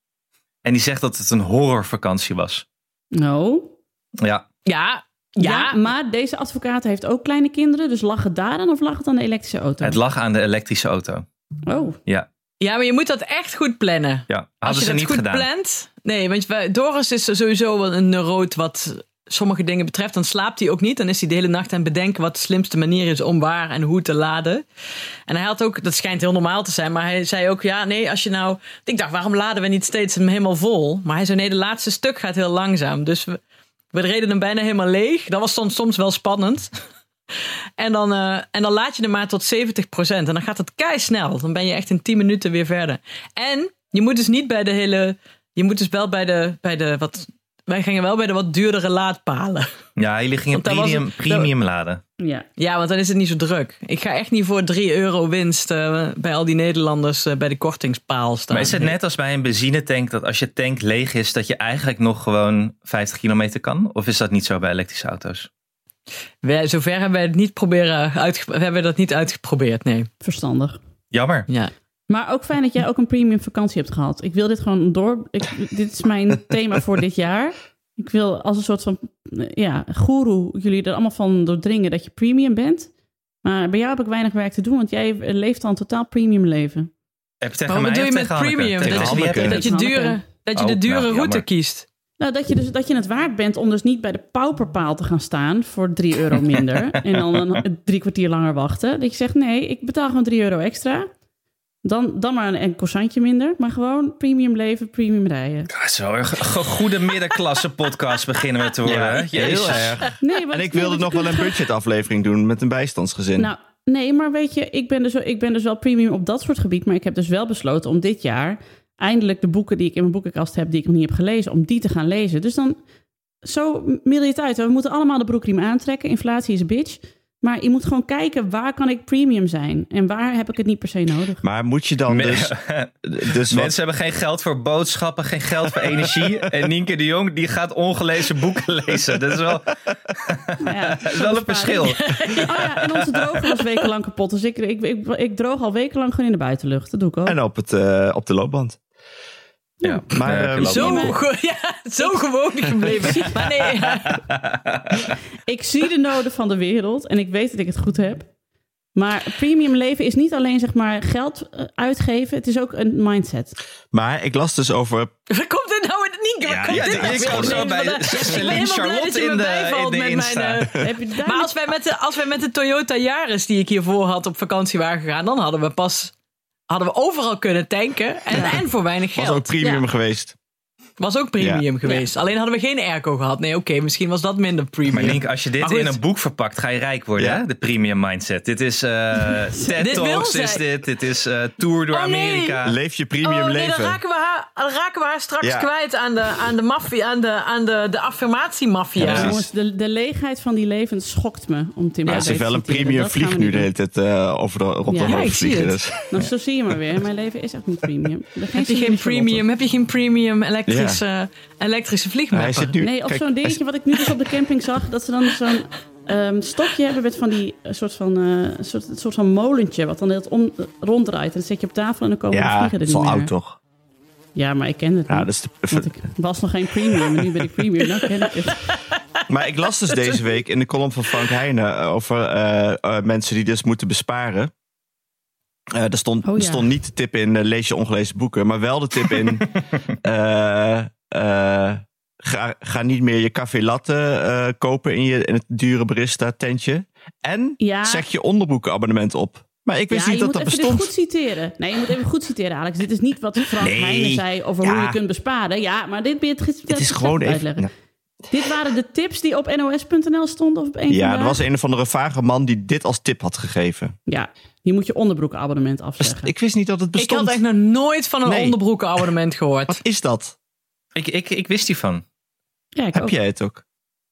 S4: En die zegt dat het een horrorvakantie was.
S2: No.
S4: Ja,
S3: Ja,
S2: Ja,
S3: ja,
S2: maar deze advocaat heeft ook kleine kinderen. Dus lag het daar dan of lag het aan de elektrische auto?
S4: het lag aan de elektrische auto.
S2: Oh,
S4: Ja,
S3: ja, maar je moet dat echt goed plannen.
S4: ja.
S3: Als
S4: hadden
S3: je
S4: ze
S3: dat
S4: niet
S3: goed
S4: gedaan.
S3: plant. Nee, want wij- Doris is sowieso wel een neurot wat sommige dingen betreft. Dan slaapt hij ook niet. Dan is hij de hele nacht aan het bedenken wat de slimste manier is om waar en hoe te laden. En hij had ook, dat schijnt heel normaal te zijn, maar hij zei ook, ja, nee, als je nou... Ik dacht, waarom laden we niet steeds hem helemaal vol? Maar hij zei, nee, de laatste stuk gaat heel langzaam. Dus we, we reden hem bijna helemaal leeg. Dat was dan soms wel spannend. En dan, eh, en dan laat je hem maar tot 70%. En dan gaat het kei snel. Dan ben je echt in 10 minuten weer verder. En je moet dus niet bij de hele. Je moet dus wel bij de. Bij de wat, wij gingen wel bij de wat duurdere laadpalen.
S4: Ja, jullie gingen
S3: Want daar was
S4: premium,
S3: het-
S4: premium laden.
S2: ja.
S3: Ja, want dan is het niet zo druk. Ik ga echt niet voor 3 euro winst eh, bij al die Nederlanders eh, bij de kortingspaal staan.
S4: Maar is het net als bij een benzinetank dat als je tank leeg is, dat je eigenlijk nog gewoon 50 kilometer kan? Of is dat niet zo bij elektrische auto's?
S3: Wij- zover hebben wij het niet proberen. Uitge, we hebben dat niet uitgeprobeerd, nee.
S2: verstandig.
S4: Jammer.
S3: Ja.
S2: Maar ook fijn dat jij ook een premium vakantie hebt gehad. Ik wil dit gewoon door. Ik, dit is mijn thema voor dit jaar. Ik wil als een soort van eh, ja, goeroe jullie er allemaal van doordringen dat je premium bent. Maar bij jou heb ik weinig werk te doen, want jij leeft al een totaal premium leven.
S4: Heb je tegen
S3: Maar wat
S4: mij
S3: bedoel
S4: of
S3: je met
S4: tegen Hanneke?
S3: premium?
S4: Tegen
S3: Dat
S5: is-
S4: Hanneke.
S5: Ja,
S3: Dat je
S2: Hanneke.
S3: dure. Dat je
S5: Oh,
S3: de dure
S5: nou,
S3: route
S5: jammer.
S3: kiest.
S2: Nou, dat je, dus, dat je het waard bent om dus niet bij de pauperpaal te gaan staan voor 3 euro minder. en dan een, drie kwartier langer wachten. Dat je zegt, nee, ik betaal gewoon 3 euro extra. Dan, dan maar een, een croissantje minder. Maar gewoon premium leven, premium rijden.
S4: Ja, zo een go- goede middenklasse podcast beginnen we te worden. hè?
S5: heel
S4: Jezus.
S5: erg.
S2: Nee, want-
S5: En ik
S2: nee,
S5: wilde
S2: want
S5: nog
S2: je
S5: wel een budgetaflevering doen met een bijstandsgezin.
S2: Nou, nee, maar weet je, ik ben, dus, wel- ik ben dus wel premium op dat soort gebied. Maar ik heb dus wel besloten om dit jaar eindelijk de boeken die ik in mijn boekenkast heb, die ik nog niet heb gelezen, om die te gaan lezen. Dus dan, zo middel je het uit. We moeten allemaal de broekriem aantrekken. Inflatie is een bitch. Maar je moet gewoon kijken, waar kan ik premium zijn? En waar heb ik het niet per se nodig?
S5: Maar moet je dan
S4: Me-
S5: dus... dus wat-
S4: Mensen hebben geen geld voor boodschappen, geen geld voor energie. En Nienke de Jong die gaat ongelezen boeken lezen. Dat is wel,
S2: Nou ja,
S4: dat is wel een verschil.
S2: Oh ja, en onze droger was wekenlang kapot. Dus ik, ik, ik, ik droog al wekenlang gewoon in de buitenlucht. Dat doe ik ook.
S5: En op, het, eh, op de loopband.
S4: Ja.
S5: Maar,
S4: Ja,
S5: ehm,
S4: klopt.
S3: Zo,
S2: maar-
S3: ge- ja, zo gewoon gebleven. Maar nee, ja.
S2: Ik zie de noden van de wereld en ik weet dat ik het goed heb. Maar premium leven is niet alleen zeg maar geld eh, uitgeven, het is ook een mindset.
S5: Maar ik las dus over
S3: waar komt dit nou in? Nienke, waar
S5: Ja,
S3: komt
S5: ja,
S3: dit
S5: dit
S3: nou
S5: is
S3: weer
S5: gewoon
S4: zo
S3: ineens
S4: bij
S3: vandaan? Ik ben
S4: Celine
S3: helemaal blij
S4: Charlotte
S3: dat je me
S4: in de-
S3: bijvalt
S4: in de
S3: met mijn,
S4: Insta.
S3: eh,
S2: Heb je daar
S3: Maar
S2: niet-
S3: als wij, met de, als wij met de Toyota Yaris die ik hiervoor had op vakantie waren gegaan, dan hadden we pas hadden we overal kunnen tanken. En, en voor weinig
S5: was
S3: geld.
S5: ook premium
S2: Ja.
S5: geweest.
S3: Was ook premium geweest. Alleen hadden we geen airco gehad. Nee, oké, misschien was dat minder
S4: Maar
S3: premium.
S4: Nienke, als je dit
S3: Maar goed.
S4: in een boek verpakt, ga je rijk worden.
S5: Ja.
S4: Hè? De premium mindset. Dit is eh TED
S3: Dit wil
S4: Talks,
S3: zij.
S4: is dit. Dit is eh, Tour door
S3: Oh, nee.
S4: Amerika.
S5: Leef je premium
S3: Oh nee,
S5: leven.
S3: dan raken, we haar, dan raken we haar straks
S5: Ja.
S3: kwijt aan de, aan de, maffia, aan de, aan de, de affirmatiemafia.
S5: Ja, precies.
S2: Jongens, de, de leegheid van die levens schokt me om Tim
S5: Maar
S2: Berners
S5: ze heeft wel
S2: te
S5: een
S2: citeren.
S5: premium
S2: Dat gaan
S5: vlieg
S2: we
S5: nu
S2: niet
S5: de hele
S2: doen.
S5: tijd eh, over de, op de
S2: Ja,
S5: hoofd
S3: ik zie
S5: vliegen.
S3: het.
S5: Dus.
S2: Nou, zo zie je maar weer. Mijn leven is echt niet premium. Dan ga ik
S3: Heb je geen
S2: Celine Charlotte.
S3: premium, heb je geen premium elektrische, elektrische
S5: Hij
S3: vliegmapper?
S5: zit nu...
S2: Nee, of
S5: kijk,
S2: zo'n
S5: hij
S2: dingetje wat ik nu dus op de camping zag. Dat ze dan zo'n ehm, stokje hebben met van die eh, soort van, eh, soort, soort van molentje. Wat dan heel om, ronddraait. En dan zet je op tafel en dan
S5: zit-
S2: komen de
S5: Ja,
S2: vliegen
S5: het
S2: er
S5: is
S2: niet
S5: al
S2: meer.
S5: oud toch?
S2: Ja, maar ik ken het
S5: Ja,
S2: niet.
S5: dat is de-
S2: Want ik was nog geen premium en nu ben ik premium. Nou ken ik het.
S5: Maar ik las dus deze week in de column van Frank Heijnen over eh, eh, mensen die dus moeten besparen. Eh, er, stond,
S2: Oh,
S5: er
S2: ja.
S5: stond niet de tip in eh, lees je ongelezen boeken, maar wel de tip in eh, eh, ga, ga niet meer je café latte eh, kopen in, je, in het dure barista tentje. En
S2: Ja.
S5: zeg je onderboekenabonnement op. Maar ik wist
S2: ja,
S5: niet
S2: je
S5: dat
S2: moet
S5: dat
S2: even
S5: bestond.
S2: dit goed citeren. Nee, je moet even goed citeren, Alex. Dit is niet wat Frank
S5: Nee.
S2: Heijnen zei over hoe
S5: Ja.
S2: je kunt besparen. Ja, maar dit ben je het
S5: Het is gewoon
S2: uitleggen.
S5: even...
S2: Dit waren de tips die op nos.nl stonden of op een
S5: Ja,
S2: van
S5: er
S2: de-
S5: was een of andere vage man die dit als tip had gegeven. Dus
S2: Ja, je moet je onderbroekabonnement afzeggen.
S5: Ik wist niet dat het
S3: Ik had
S5: bestond.
S3: echt nog nooit van een
S5: Nee.
S3: onderbroekenabonnement gehoord.
S5: Wat is dat?
S4: Ik, ik, ik wist hiervan.
S2: Ja, ik
S5: Heb
S2: ook.
S5: jij het ook?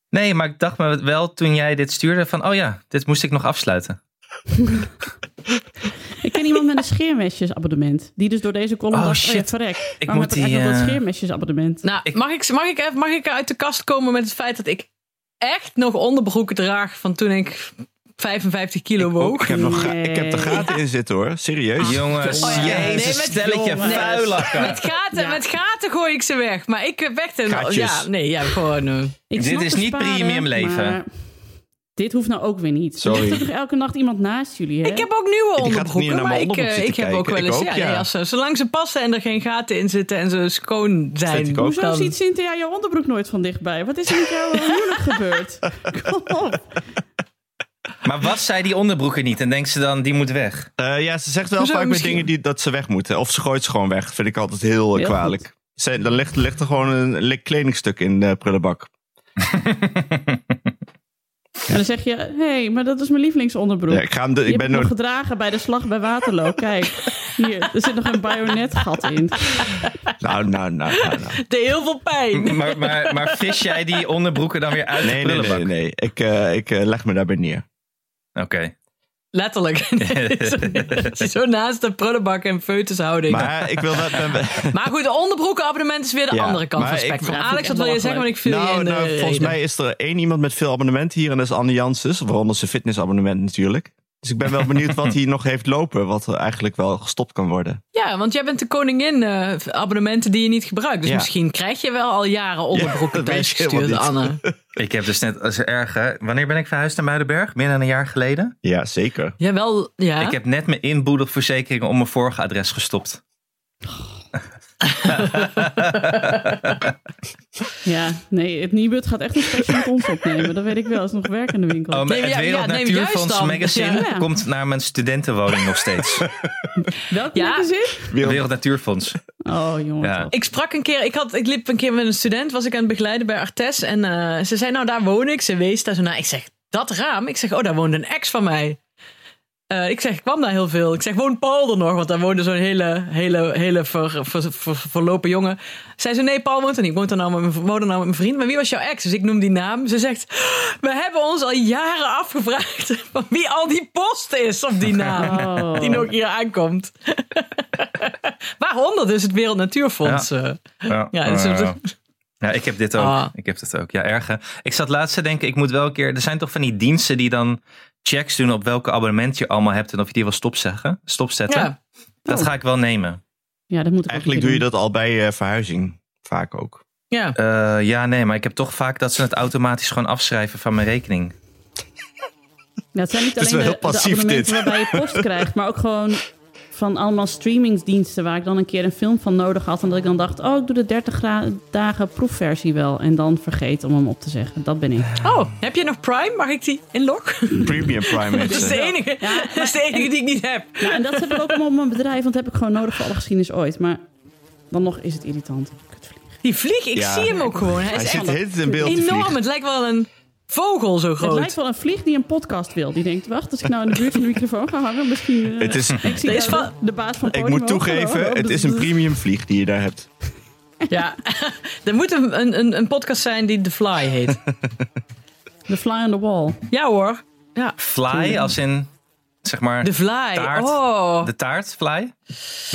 S4: Nee, maar ik dacht me wel toen jij dit stuurde van... oh ja, dit moest ik nog afsluiten.
S2: Ik ken iemand met een scheermesjesabonnement. Die dus door deze column
S4: Oh,
S2: dacht, oh ja,
S4: shit.
S2: verrek.
S4: Ik
S2: waarom
S4: moet
S2: heb ik
S4: die,
S2: eigenlijk dat
S4: eh,
S2: scheermesjesabonnement?
S3: Nou,
S4: Ik-
S3: mag, ik, mag, ik, even- mag ik uit de kast komen met het feit dat ik echt nog onderbroeken draag van toen ik 55 kilo
S5: Oh, ik
S3: woog?
S5: heb, nog ga-
S2: Nee.
S5: ik heb de gaten in zitten hoor, serieus.
S4: Jongens,
S3: Oh, ja. Nee,
S4: jezus,
S3: met
S4: stelletje
S3: jongens.
S4: vuilakken.
S3: Met gaten,
S2: Ja.
S3: met gaten gooi ik ze weg. Maar ik heb echt een...
S5: Gaatjes.
S3: Ja, nee, ja, gewoon... eh,
S2: Ik
S4: Dit
S2: snap
S4: is
S2: het
S4: niet
S2: sparen,
S4: premium leven.
S2: maar Dit hoeft nou ook weer niet.
S5: Sorry.
S2: Er ligt er toch elke nacht iemand naast jullie, hè?
S3: ik heb ook nieuwe
S5: gaat niet
S3: onderbroeken,
S5: naar
S3: maar
S5: mijn
S3: ik,
S5: onderbroek
S3: eh, ik
S5: zitten
S3: heb ook
S5: kijken.
S3: wel eens...
S5: Ik ook,
S3: ja, nee,
S5: ja.
S3: als ze, zolang ze passen en er geen gaten in zitten en ze schoon zijn...
S5: Vind ik ook.
S2: Hoezo
S3: dan-
S2: ziet Cynthia jouw onderbroek nooit van dichtbij? Wat is er met jouw huwelijk gebeurd? Kom op.
S4: Maar was zij die onderbroeken niet en denkt ze dan, die moet weg?
S5: Eh, ja, ze zegt wel
S3: Hoezo,
S5: vaak
S3: misschien-
S5: bij dingen die, dat ze weg moeten. Of ze gooit ze gewoon weg. Vind ik altijd heel, eh,
S2: Heel
S5: kwalijk. Ze, dan ligt, ligt er gewoon een lik kledingstuk in de prullenbak.
S2: En dan zeg je, hé, hey, maar dat is mijn lievelingsonderbroek.
S5: Ja, ik ga hem de,
S2: Je
S5: ik
S2: hebt
S5: ben
S2: het nog
S5: nooit-
S2: gedragen bij de slag bij Waterloo. Kijk, hier, er zit nog een bajonetgat in.
S5: nou, nou, nou, nou, nou.
S3: deed heel veel pijn.
S4: Maar, maar, maar vis jij die onderbroeken dan weer uit de
S5: Nee, nee,
S4: prullenbak?
S5: nee, nee. Ik, eh, ik eh, leg me daarbij neer.
S4: Oké.
S3: Letterlijk. Dat je zo naast de prullenbak en foetushouding. Maar,
S5: Maar ik wil dat...
S3: goed, de onderbroekenabonnement is weer de
S5: Ja,
S3: andere kant van
S5: maar
S3: het
S5: ik-
S3: spectrum.
S2: Ja, vind
S3: Alex,
S2: ik
S3: wat
S2: echt
S3: wil je zeggen? Want
S2: belachelijk.
S3: ik eh, viel je
S5: nou,
S3: in de
S5: nou, volgens
S3: reden.
S5: mij is er één iemand met veel abonnementen hier. En dat is Anne Janssens. Waaronder zijn fitnessabonnement natuurlijk. Dus ik ben wel benieuwd wat hij nog heeft lopen. Wat er eigenlijk wel gestopt kan worden.
S3: Ja, want jij bent de koningin eh, abonnementen die je niet gebruikt. Dus
S5: Ja.
S3: misschien krijg je wel al jaren onderbroeken
S5: Ja, dat weet je
S3: thuisgestuurd,
S5: helemaal
S3: Anne.
S4: Ik heb dus net als erg... hè, Wanneer ben ik verhuisd naar Muidenberg? Meer dan een jaar geleden.
S5: Ja, zeker.
S3: Ja, wel, ja.
S4: Ik heb net mijn inboedelverzekering om mijn vorige adres gestopt.
S2: Ja, nee, het Nibud gaat echt een special met ons opnemen. Dat weet ik wel. Dat is nog werk aan de winkel.
S4: Oh,
S3: Nee,
S4: het
S3: ja,
S4: Wereld
S3: ja, nee,
S4: Natuurfonds
S3: juist dan.
S4: magazine
S2: Ja.
S4: komt naar mijn studentenwoning nog steeds.
S2: Welke
S3: Ja.
S2: magazine?
S4: Wereld Natuurfonds.
S2: Oh, jongen.
S4: Ja.
S2: toch.
S3: Ik sprak een keer, ik, had, ik liep een keer met een student, was ik aan het begeleiden bij Artes. En eh, ze zei, nou daar woon ik. Ze wees daar zo naar. Ik zeg, dat raam? Ik zeg, oh daar woonde een ex van mij. Eh, ik zeg, ik kwam daar heel veel. Ik zeg, woont Paul er nog? Want daar woonde zo'n hele, hele, hele ver, ver- ver- verlopen jongen. Zij zei, nee, Paul woont er niet. Ik woon er nou met mijn, woon er nou met mijn vriend. Maar wie was jouw ex? Dus ik noem die naam. Ze zegt, we hebben ons al jaren afgevraagd van wie al die post is op die naam.
S2: Oh.
S3: Die nog hier aankomt. Waaronder dus het Wereld Natuurfonds. eh.
S4: Ja,
S3: Ja, dus-
S4: ja, ja. Ja, ik heb dit ook.
S3: Ah.
S4: Ik heb dit ook. Ja, erger. Ik zat laatst te denken, ik moet wel een keer... Er zijn toch van die diensten die dan checks doen op welke abonnement je allemaal hebt en of je die wil stopzeggen, stopzetten.
S3: Ja. Oh.
S4: Dat ga ik wel nemen.
S2: Ja, dat moet ik
S5: Eigenlijk doe je dat al bij eh, verhuizing vaak ook.
S3: Ja.
S4: Eh, ja, nee, maar ik heb toch vaak dat ze het automatisch gewoon afschrijven van mijn rekening.
S2: Ja, het zijn niet
S5: Het
S2: alleen
S5: is
S2: de,
S5: wel heel
S2: de
S5: passief,
S2: abonnementen
S5: dit.
S2: waarbij je post krijgt, maar ook gewoon van allemaal streamingsdiensten waar ik dan een keer een film van nodig had. En dat ik dan dacht, oh, ik doe de 30 gra- dagen proefversie wel. En dan vergeet om hem op te zeggen. Dat ben ik.
S5: Eh.
S3: Oh, heb je nog Prime? Mag ik die inloggen?
S5: Premium Prime
S3: Dat is
S5: mensen.
S3: de enige, dat is de enige die ik niet heb.
S2: Ja, en dat heb ik ook allemaal op mijn bedrijf, want dat heb ik gewoon nodig voor alle geschiedenis ooit. Maar dan nog is het irritant. Kutvlieg.
S3: Die vlieg, ik
S5: Ja.
S3: zie hem ook gewoon. Hij
S5: Hij
S3: is
S5: zit
S3: echt
S5: de hele tijd in beeld te
S3: enorm.
S5: vliegen.
S3: Het lijkt wel een vogel zo
S2: Het lijkt
S3: groot.
S2: wel een vlieg die een podcast wil. Die denkt, wacht, als ik nou in de buurt van de microfoon ga hangen, misschien... eh,
S5: Het is,
S2: ik zie
S3: Er is
S2: nou
S3: van-
S2: de, de baas van eh,
S5: ik
S2: Podimo.
S5: moet
S2: oh,
S5: toegeven, het is een premium vlieg die je daar hebt.
S3: Ja. er moet een, een- een, een podcast zijn die The Fly heet.
S2: The fly on the wall.
S3: Ja hoor. Ja.
S4: Fly, als in, zeg maar,
S3: The Fly.
S4: Taart.
S3: Oh.
S4: de taart, fly.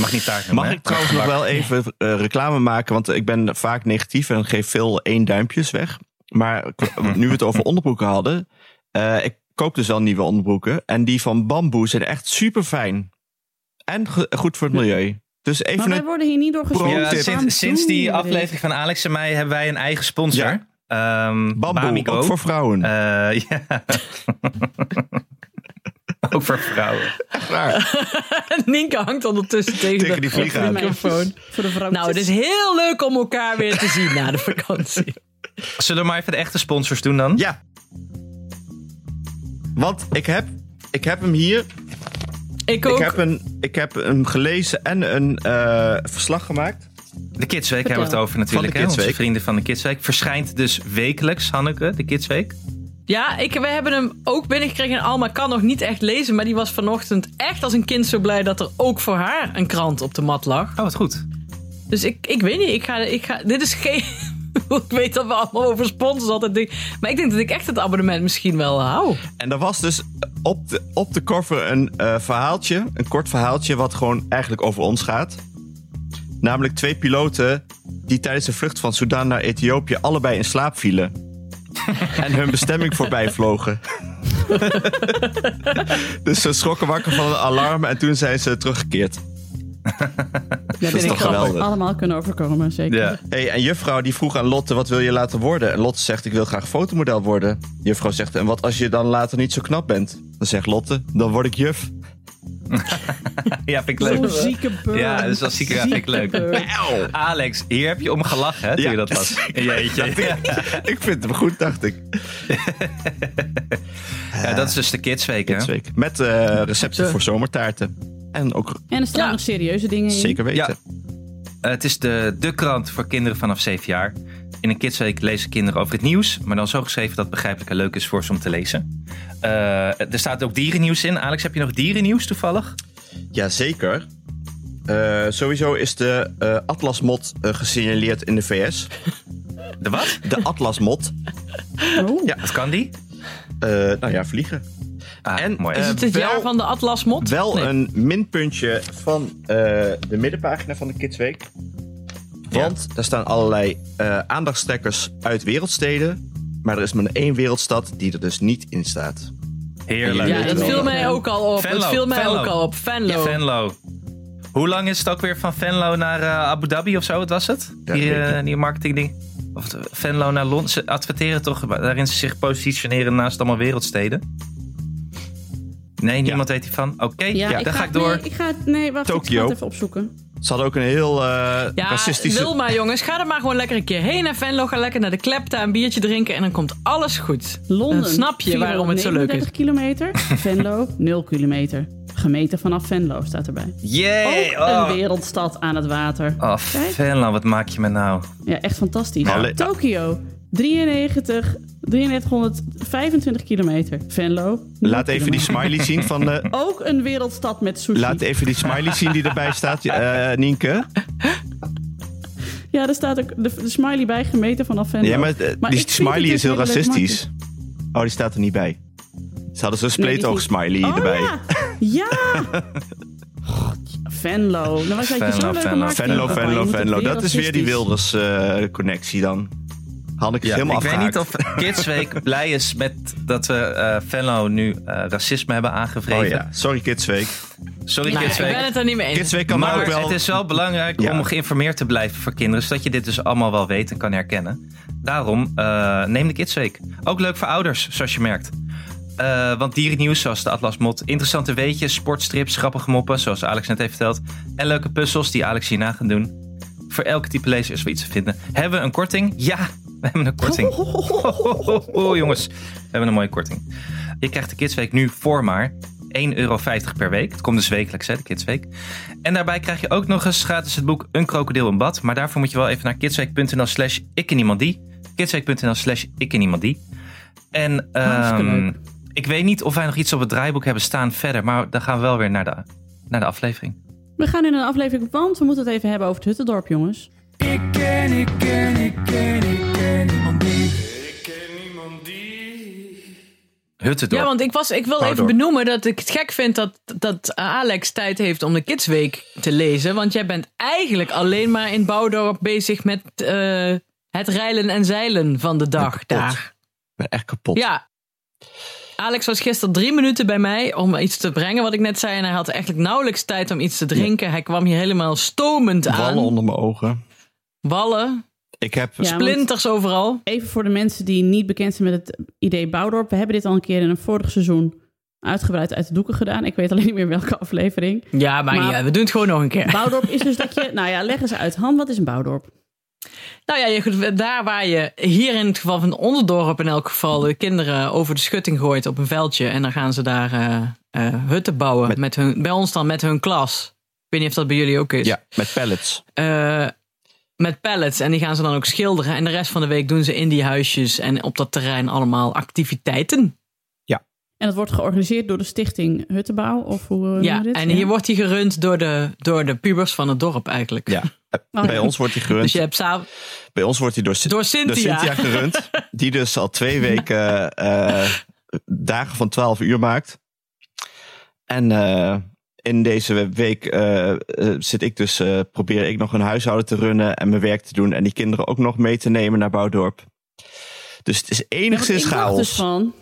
S4: Mag niet taart noemen,
S5: Mag
S4: hè?
S5: ik trouwens nog wel even eh, reclame maken? Want ik ben vaak negatief en geef veel één duimpjes weg. Maar k- nu we het over onderbroeken hadden. eh, ik koop dus wel nieuwe onderbroeken. En die van bamboe zijn echt super fijn. En ge- goed voor het milieu. Dus
S2: Maar
S5: even
S2: wij
S5: een.
S2: worden hier niet door gesponsord.
S5: Pro
S4: Ja,
S5: tip.
S2: Waarom
S4: sinds, sinds
S2: doen
S4: die
S2: jullie dit?
S4: aflevering van Alex en mij hebben wij een eigen sponsor.
S5: Ja.
S4: Ehm,
S5: Bamboe,
S4: Bamigo.
S5: ook voor vrouwen.
S4: Eh, ja. ook voor vrouwen.
S5: Echt waar.
S3: Nienke hangt ondertussen tegen,
S5: Tegen
S3: de-
S5: die vlieg aan.
S3: microfoon.
S2: Voor de vrouwtjes.
S3: Nou, het is heel leuk om elkaar weer te zien na de vakantie.
S4: Zullen we maar even de echte sponsors doen dan?
S5: Ja. Want ik heb, ik heb hem hier.
S3: Ik
S5: Ik
S3: ook.
S5: heb, een, ik heb hem gelezen en een eh, verslag gemaakt.
S4: De Kidsweek hebben we het over natuurlijk.
S5: Van de
S4: hè? Onze
S5: Kidsweek.
S4: vrienden van de Kidsweek. Verschijnt dus wekelijks, Hanneke, de Kidsweek.
S3: Ja, ik, we hebben hem ook binnengekregen. En Alma kan nog niet echt lezen, maar die was vanochtend echt als een kind zo blij dat er ook voor haar een krant op de mat lag.
S4: Oh, wat goed.
S3: Dus ik, ik weet niet, ik ga, ik ga. Dit is geen. ik weet dat we allemaal over sponsors altijd denken. Maar ik denk dat ik echt het abonnement misschien wel hou.
S5: En er was dus op de, op de cover een eh, verhaaltje, een kort verhaaltje, wat gewoon eigenlijk over ons gaat. Namelijk twee piloten die tijdens de vlucht van Sudan naar Ethiopië allebei in slaap vielen. en hun bestemming voorbij vlogen. dus ze schrokken wakker van een alarm en toen zijn ze teruggekeerd.
S2: Ja,
S5: Dat is
S3: ik
S5: toch
S3: grappig.
S5: geweldig.
S2: allemaal kunnen overkomen, zeker.
S4: Ja.
S5: Hey, en juffrouw die vroeg aan Lotte, wat wil je later worden? En Lotte zegt, ik wil graag fotomodel worden. Juffrouw zegt, en wat als je dan later niet zo knap bent? Dan zegt Lotte, dan word ik juf.
S4: Ja, vind ik
S2: Zo'n
S4: leuk.
S2: zieke burn.
S4: Ja, dat is wel zieke- ja, vind ik leuk.
S2: burn.
S5: Auw.
S4: Alex, hier heb je om gelachen, hè, toen
S5: Ja.
S4: je dat las. Jeetje.
S5: Ik vind hem goed, dacht ik.
S4: Ja, dat is dus de Kidsweek, hè?
S5: Dit week. Met eh, recepten
S3: Zo.
S5: voor zomertaarten. En ook
S2: En er staan
S3: Ja.
S2: nog serieuze dingen in.
S5: zeker weten.
S4: Eh, het is de, de krant voor kinderen vanaf 7 jaar. In een kidsweek lezen kinderen over het nieuws, maar dan zo geschreven dat het begrijpelijk en leuk is voor ze om te lezen. Eh, er staat ook dierennieuws in. Alex, heb je nog dierennieuws toevallig?
S5: Jazeker. Eh, sowieso is de eh, atlasmot eh, gesignaleerd in de VS.
S4: De wat?
S5: De atlasmot.
S2: Oh.
S5: Ja.
S4: Wat kan die?
S5: Eh nou ja, vliegen.
S4: Ah,
S5: En,
S4: mooi.
S5: eh,
S3: Is het het
S5: wel-
S3: jaar van de Atlasmot?
S5: Wel
S3: Nee.
S5: een minpuntje van eh, de middenpagina van de Kidsweek. Want daar staan allerlei eh aandachtstrekkers uit wereldsteden. Maar er is maar één wereldstad die er dus niet in staat.
S4: Heerlijk.
S3: Ja, dat
S5: wel.
S3: viel mij ook al op.
S4: Venlo,
S3: dat viel mij
S4: Venlo.
S3: ook al op. Venlo.
S4: Venlo. Hoe lang is het ook weer van Venlo naar eh, Abu Dhabi of zo? Wat was het?
S5: Ja,
S4: die,
S5: weet ik
S4: eh, die marketingding. Of het- Venlo naar Londen. Ze adverteren toch waarin ze zich positioneren naast allemaal wereldsteden? Nee, niemand weet hiervan. Oké, ja,
S2: ik
S4: dan ga ik
S2: nee,
S4: door.
S2: ik ga, nee, wacht, ik
S5: Tokio.
S2: ga het even opzoeken.
S5: Ze hadden ook een heel eh,
S3: Ja,
S5: racistische...
S3: wil maar jongens, ga er maar gewoon lekker een keer heen naar Venlo. Ga lekker naar de klepta, een biertje drinken en dan komt alles goed.
S2: Londen.
S3: Dan snap je waarom het zo leuk is.
S2: 39 kilometer. Venlo, 0 kilometer. Gemeten vanaf Venlo staat erbij.
S4: Yay!
S2: Ook een
S4: Oh,
S2: wereldstad aan het water.
S4: oh Venlo, wat maak je me nou?
S2: Ja, echt fantastisch.
S5: Nou, le-
S2: Tokio, 93, 3325 kilometer. Venlo. nul
S5: Laat even die
S2: kilometer.
S5: smiley zien van... de-
S2: Ook een wereldstad met sushi.
S5: Laat even die smiley zien die erbij staat, eh, Nienke.
S2: Ja, daar staat ook de, de smiley bij gemeten vanaf Venlo.
S5: Ja, maar, eh, die
S2: ik vind het
S5: smiley
S2: dus
S5: is heel
S2: een hele leuke
S5: racistisch. Oh, die staat er niet bij. Ze hadden zo'n
S2: Nee, die is
S5: spleetoog
S2: niet-
S5: smiley
S2: Oh,
S5: erbij.
S2: Ja! ja. God, Venlo. Nou, was je
S4: Venlo,
S2: zo leuk
S4: Venlo,
S2: gemaakt.
S5: Venlo,
S2: Europa. Je
S5: Venlo,
S2: moet het
S5: Venlo. Dat is weer die
S2: racistisch.
S5: Wilders-connectie dan. Hanneke is
S4: Ja,
S5: helemaal
S4: ik weet
S5: afgehaakt.
S4: niet of Kidsweek blij is met dat we eh Venlo nu eh, racisme hebben aangevreven.
S5: Oh ja, sorry Kidsweek.
S4: Sorry
S3: Nou, ik
S4: Kidsweek.
S3: ben het er niet mee eens.
S5: Kidsweek kan
S4: maar
S5: ook wel...
S4: het is wel belangrijk
S5: Ja.
S4: om geïnformeerd te blijven voor kinderen. Zodat je dit dus allemaal wel weet en kan herkennen. Daarom eh, neem de Kids Week. Ook leuk voor ouders, zoals je merkt. Eh, want dierennieuws zoals de Atlas Mot, interessante weetjes, sportstrips, grappige moppen zoals Alex net heeft verteld. En leuke puzzels die Alex hierna gaat doen. Voor elke type lezer is wel iets te vinden. Hebben we een korting? Ja, we hebben een korting. Oh jongens, we hebben een mooie korting. Je krijgt de Kidsweek nu voor maar 1,50 euro per week. Het komt dus wekelijks, hè, de Kidsweek. En daarbij krijg je ook nog eens gratis het boek Een krokodil in bad. Maar daarvoor moet je wel even naar kidsweek.nl slash ik ken iemand die. Kidsweek.nl slash ik ken iemand die. En
S3: Oh,
S2: Hartstikke
S4: ehm,
S2: leuk.
S4: ik weet niet of wij nog iets op het draaiboek hebben staan verder. Maar dan gaan we wel weer naar de, naar de aflevering.
S2: We gaan in een aflevering, want we moeten het even hebben over het Huttendorp, jongens.
S6: Ik ken, ik ken, ik ken, ik ken niemand die.
S4: Huttendorp.
S3: Ja, want ik, was, ik wil
S4: Hou
S3: even
S4: door.
S3: benoemen dat ik het gek vind dat, dat Alex tijd heeft om de Kidsweek te lezen. Want jij bent eigenlijk alleen maar in Bouwdorp bezig met eh, het reilen en zeilen van de dag
S5: kapot.
S3: daar.
S5: Ik ben echt kapot.
S3: Ja. Alex was gisteren drie minuten bij mij om iets te brengen wat ik net zei. En hij had eigenlijk nauwelijks tijd om iets te drinken. Hij kwam hier helemaal stomend aan.
S5: Wallen onder mijn ogen.
S3: Wallen,
S5: Ik heb...
S2: Ja, want-
S3: splinters overal.
S2: Even voor de mensen die niet bekend zijn met het idee Bouwdorp. We hebben dit al een keer in een vorig seizoen uitgebreid uit de doeken gedaan. Ik weet alleen niet meer welke aflevering.
S3: Ja, maar,
S2: Maar-
S3: niet uit. we doen het gewoon nog een keer.
S2: Bouwdorp is dus dat je... Nou ja, leg eens uit. Han, wat is een bouwdorp?
S3: Nou ja, je, daar waar je hier in het geval van Onderdorp in elk geval de kinderen over de schutting gooit op een veldje. En dan gaan ze daar eh, eh, hutten bouwen. Met... hun, bij ons dan met hun klas. Ik weet niet of dat bij jullie ook is.
S5: Ja, met pallets.
S3: Eh, met pallets. En die gaan ze dan ook schilderen. En de rest van de week doen ze in die huisjes en op dat terrein allemaal activiteiten.
S2: En dat wordt georganiseerd door de stichting Huttenbouw, of hoe eh, noemen
S3: Ja,
S2: we dit?
S3: en hier wordt die gerund door de, door de pubers van het dorp eigenlijk.
S5: Ja.
S2: Oh,
S5: Bij
S2: ja.
S5: ons wordt die gerund.
S3: Dus je hebt s'av-
S5: Bij ons wordt die door, Cyn-
S3: Door Cynthia.
S5: gerund. Die dus al twee weken eh, dagen van 12 uur maakt. En eh, in deze week eh, eh, zit ik dus, eh, probeer ik nog een huishouden te runnen en mijn werk te doen. En die kinderen ook nog mee te nemen naar Bouwdorp. Dus het is
S2: Ja, want
S5: enigszins
S2: ik dacht
S5: chaos.
S2: dus van...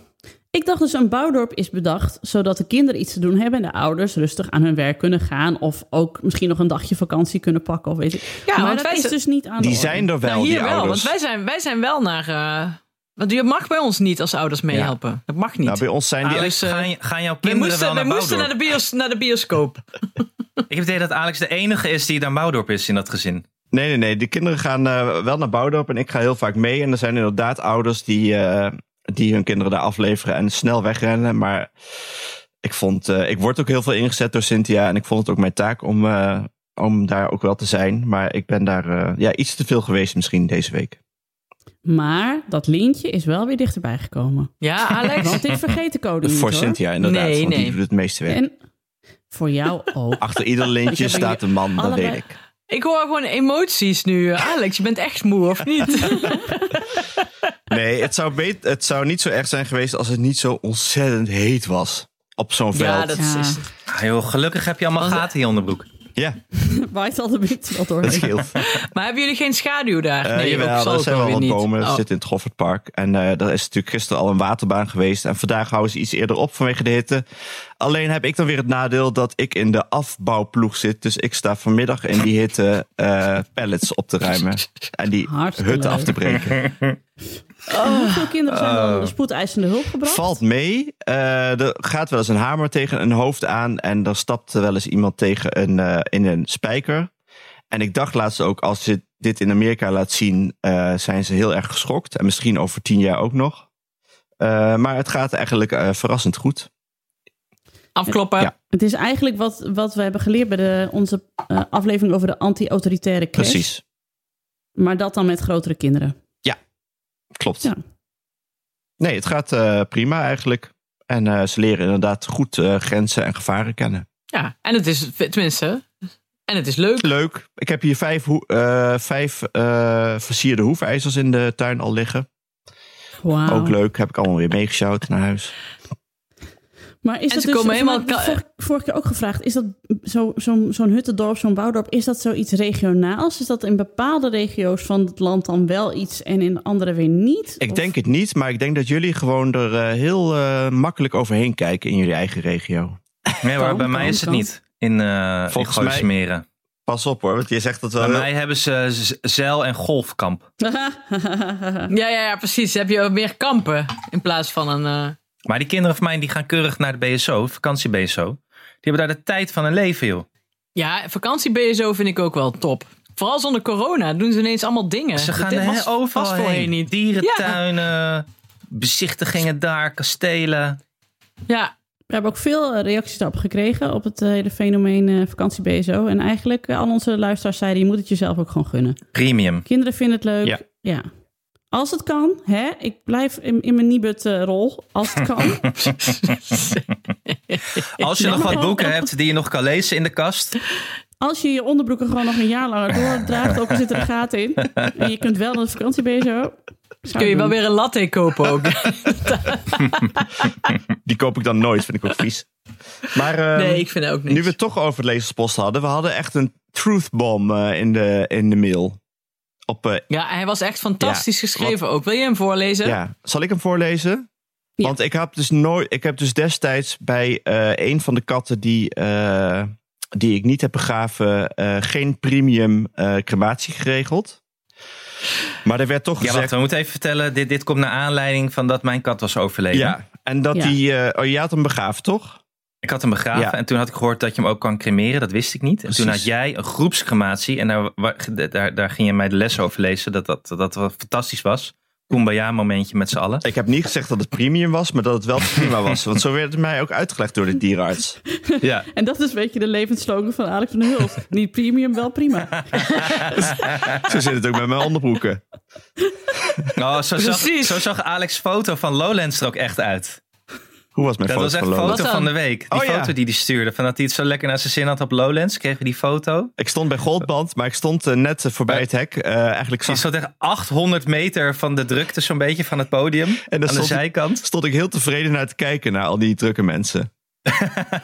S2: Ik dacht dus een bouwdorp is bedacht zodat de kinderen iets te doen hebben en de ouders rustig aan hun werk kunnen gaan. Of ook misschien nog een dagje vakantie kunnen pakken of weet ik.
S3: Ja,
S2: maar
S3: want
S2: dat
S3: wij
S2: is
S3: zijn-
S2: dus niet aan de
S5: die
S2: orde.
S5: zijn er wel,
S3: Nou, hier
S5: die
S3: wel,
S5: ouders.
S3: want wij zijn, wij zijn wel naar. eh, want je mag bij ons niet als ouders meehelpen. Dat mag niet.
S5: nou, bij ons zijn die...
S3: Ah,
S4: Alex,
S3: dus, eh,
S4: gaan, gaan jouw
S3: we
S4: kinderen
S3: moesten,
S4: wel
S3: we
S4: naar
S3: moesten
S4: Bouwdorp?
S3: naar, de bios, naar de bioscoop.
S4: Ik heb het idee dat Alex de enige is die naar Bouwdorp is in dat gezin.
S5: Nee, nee, nee. De kinderen gaan eh, wel naar Bouwdorp en ik ga heel vaak mee. En er zijn inderdaad ouders die, eh, die hun kinderen daar afleveren en snel wegrennen. Maar ik, vond, eh, ik word ook heel veel ingezet door Cynthia. En ik vond het ook mijn taak om, eh, om daar ook wel te zijn. Maar ik ben daar eh, ja, iets te veel geweest misschien deze week.
S2: Maar dat lintje is wel weer dichterbij gekomen.
S3: Ja, Alex.
S2: Want dit vergeet de code niet
S5: Voor
S2: hoor.
S5: Cynthia inderdaad,
S3: Nee,
S5: want
S3: nee.
S5: die doet het meeste werk.
S2: En voor jou ook.
S5: Achter ieder lintje
S2: Ik heb
S5: staat een man, dat
S2: allebei-
S5: weet ik.
S3: ik hoor gewoon emoties nu. Alex, je bent echt moe, of niet?
S5: Nee, het zou, bet- het zou niet zo erg zijn geweest als het niet zo ontzettend heet was op zo'n veld.
S3: ja, dat
S2: Ja.
S3: is.
S4: Ah, joh, gelukkig heb je allemaal gaten in je onderbroek.
S5: ja,
S2: Waait al de wind wel
S5: dat
S2: doorheen.
S5: scheelt.
S3: Maar hebben jullie geen schaduw daar?
S5: Eh
S3: ook
S5: jawel,
S3: zal
S5: er
S3: ook
S5: zijn wel
S3: wel
S5: wat
S3: weer niet.
S5: bomen.
S3: Oh.
S5: Ze zitten in het Goffertpark. En eh daar is natuurlijk gisteren al een waterbaan geweest. En vandaag houden ze iets eerder op vanwege de hitte. Alleen heb ik dan weer het nadeel dat ik in de afbouwploeg zit. Dus ik sta vanmiddag in die hitte eh pallets op te ruimen. En die
S2: Hartstikke
S5: hutten
S2: leuk.
S5: af te breken.
S2: Hoeveel kinderen zijn er onder de spoedeisende hulp gebracht?
S5: Oh. Valt mee. Eh, er gaat wel eens een hamer tegen een hoofd aan. En er stapt wel eens iemand tegen een, eh, in een spijker. En ik dacht laatst ook, als je dit in Amerika laat zien, eh, zijn ze heel erg geschokt. En misschien over tien jaar ook nog. Eh, maar het gaat eigenlijk eh, verrassend goed.
S3: Afkloppen.
S5: Ja.
S2: Het is eigenlijk wat, wat we hebben geleerd bij de, onze eh, aflevering over de anti-autoritaire crash.
S5: Precies,
S2: Maar dat dan met grotere kinderen.
S5: klopt.
S2: Ja.
S5: Nee, het gaat eh, prima eigenlijk. En eh, ze leren inderdaad goed eh, grenzen en gevaren kennen.
S3: Ja, en het is, tenminste, en het is leuk.
S5: Leuk. Ik heb hier vijf, hoe- eh, vijf eh, versierde hoefijzers in de tuin al liggen.
S2: Wauw.
S5: Ook leuk. Heb ik allemaal weer meegesjouwd naar huis.
S2: Maar is
S3: En
S2: dat
S3: ze
S2: dus,
S3: komen helemaal
S2: maar ik heb
S3: ka-
S2: vorige, vorige keer ook gevraagd, is dat zo- zo'n zo'n huttendorp, zo'n bouwdorp, is dat zoiets regionaals? Is dat in bepaalde regio's van het land dan wel iets en in andere weer niet?
S5: Ik
S2: Of-
S5: denk het niet, maar ik denk dat jullie gewoon er eh, heel eh, makkelijk overheen kijken in jullie eigen regio.
S4: Nee hoor,
S2: Kan,
S4: bij mij
S2: kan,
S4: is het
S2: kan.
S4: niet. In, eh in
S5: Volgens mij-
S4: Gooisemeren.
S5: Pas op hoor, want je zegt dat wel.
S4: Bij mij hebben ze z- zeil- en golfkamp.
S3: Ja, ja, ja, precies. Dan heb je meer kampen in plaats van een... eh,
S4: Maar die kinderen van mij die gaan keurig naar de BSO, vakantie-BSO. Die hebben daar de tijd van hun leven, joh.
S3: Ja, vakantie-BSO vind ik ook wel top. Vooral zonder corona doen ze ineens allemaal dingen.
S4: Ze gaan
S3: Dit
S4: er
S3: was-
S4: he- overal
S3: was voorheen
S4: heen.
S3: niet.
S4: Dierentuinen, bezichtigingen daar, kastelen.
S3: Ja,
S2: We hebben ook veel eh, reacties daarop gekregen op het eh, hele fenomeen eh, vakantie-BSO. En eigenlijk, eh, al onze luisteraars zeiden, je moet het jezelf ook gewoon gunnen.
S4: Premium.
S2: Kinderen vinden het leuk.
S5: Ja.
S2: Ja. Als het kan, hè? ik blijf in, in mijn Nibud-rol. als het kan.
S4: Als je
S2: Ja.
S4: nog wat boeken hebt die je nog kan lezen in de kast.
S2: Als je je onderbroeken gewoon nog een jaar langer doordraagt, ook al zit er een gat in. En je kunt wel naar de vakantie BSO.
S3: kun je wel weer een latte kopen ook.
S5: Die koop ik dan nooit, vind ik ook vies. Maar eh,
S3: nee, ik vind het ook niet.
S5: nu we het toch over het lezerspost hadden, we hadden echt een truth bomb eh, in, de, in de mail. Op, eh,
S3: Ja, hij was echt fantastisch
S5: Ja,
S3: geschreven ook. Wil je hem voorlezen?
S5: ja. Zal ik hem voorlezen?
S2: Ja.
S5: Want ik heb dus nooit, ik heb dus destijds bij eh, een van de katten die, eh, die ik niet heb begraven, eh, geen premium eh, crematie geregeld. Maar er werd toch
S4: Ja,
S5: gezegd.
S4: wacht, we moeten even vertellen. Dit, dit komt naar aanleiding van dat mijn kat was overleden.
S5: Ja, en dat
S2: Ja.
S5: die. eh, oh, je had hem begraafd, toch?
S4: Ik had hem begraven
S5: Ja.
S4: en toen had ik gehoord dat je hem ook kan cremeren. Dat wist ik niet. En toen
S5: Precies.
S4: had jij een groepscrematie en daar, wa- daar, daar ging je mij de les over lezen. Dat dat, dat, wel fantastisch was. Kumbaya momentje met z'n allen.
S5: Ik heb niet gezegd dat het premium was, maar dat het wel prima was. Want zo werd het mij ook uitgelegd door de dierenarts.
S4: Ja.
S2: En dat is een beetje de levensslogan van Alex van der Hulst. Niet premium, wel prima.
S5: Zo zit het ook met mijn onderbroeken.
S4: Oh, zo, zag,
S3: Precies.
S4: zo zag Alex' foto van Lowlands er ook echt uit.
S5: Hoe was mijn
S4: Dat
S5: foto
S4: was echt
S5: van
S4: een
S5: Lola?
S4: foto
S3: Wat dan?
S4: van de week. Die
S5: Oh, ja.
S4: foto die hij stuurde. Van dat hij het zo lekker naar zijn zin had op Lowlands. Kregen we die foto.
S5: Ik stond bij Goldband, maar ik stond eh, net eh, voorbij het hek. Eh, eigenlijk
S4: Die
S5: zag,
S4: zat echt 800 meter van de drukte zo'n beetje van het podium.
S5: dan
S4: aan de
S5: stond-
S4: zijkant.
S5: stond ik heel tevreden naar te kijken naar al die drukke mensen.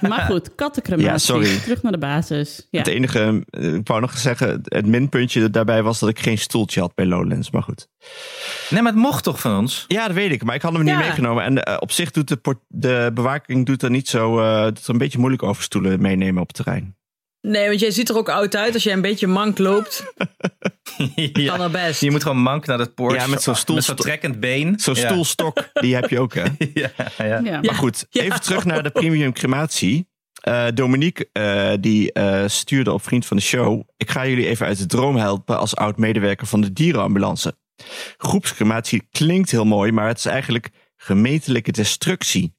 S2: Maar goed, kattencrematie.
S5: Ja, sorry.
S2: Terug naar de basis. Ja.
S5: Het enige, eh, ik wou nog zeggen, het minpuntje daarbij was dat ik geen stoeltje had bij Lowlands. Maar goed.
S4: Nee, maar het mocht toch van ons?
S5: Ja, dat weet ik, maar ik had hem
S3: Ja.
S5: niet meegenomen. En eh, op zich doet de, port- de bewaking doet er niet zo. eh doet er een beetje moeilijk over stoelen meenemen op het terrein.
S3: Nee, want jij ziet er ook oud uit als jij een beetje mank loopt.
S4: Ja.
S3: Kan er best.
S4: Je moet gewoon mank naar dat poort.
S5: Ja, met zo'n stoel-
S4: Met zo'n trekkend been.
S5: Zo'n
S4: Ja.
S5: stoelstok, die heb je ook, hè?
S4: Ja, ja.
S2: Ja.
S5: Maar goed,
S3: Ja.
S5: even terug naar de premium crematie. Eh, Dominique, eh, die eh, stuurde op Vriend van de Show... Ik ga jullie even uit de droom helpen als oud-medewerker van de dierenambulance. Groepscrematie klinkt heel mooi, maar het is eigenlijk gemeentelijke destructie.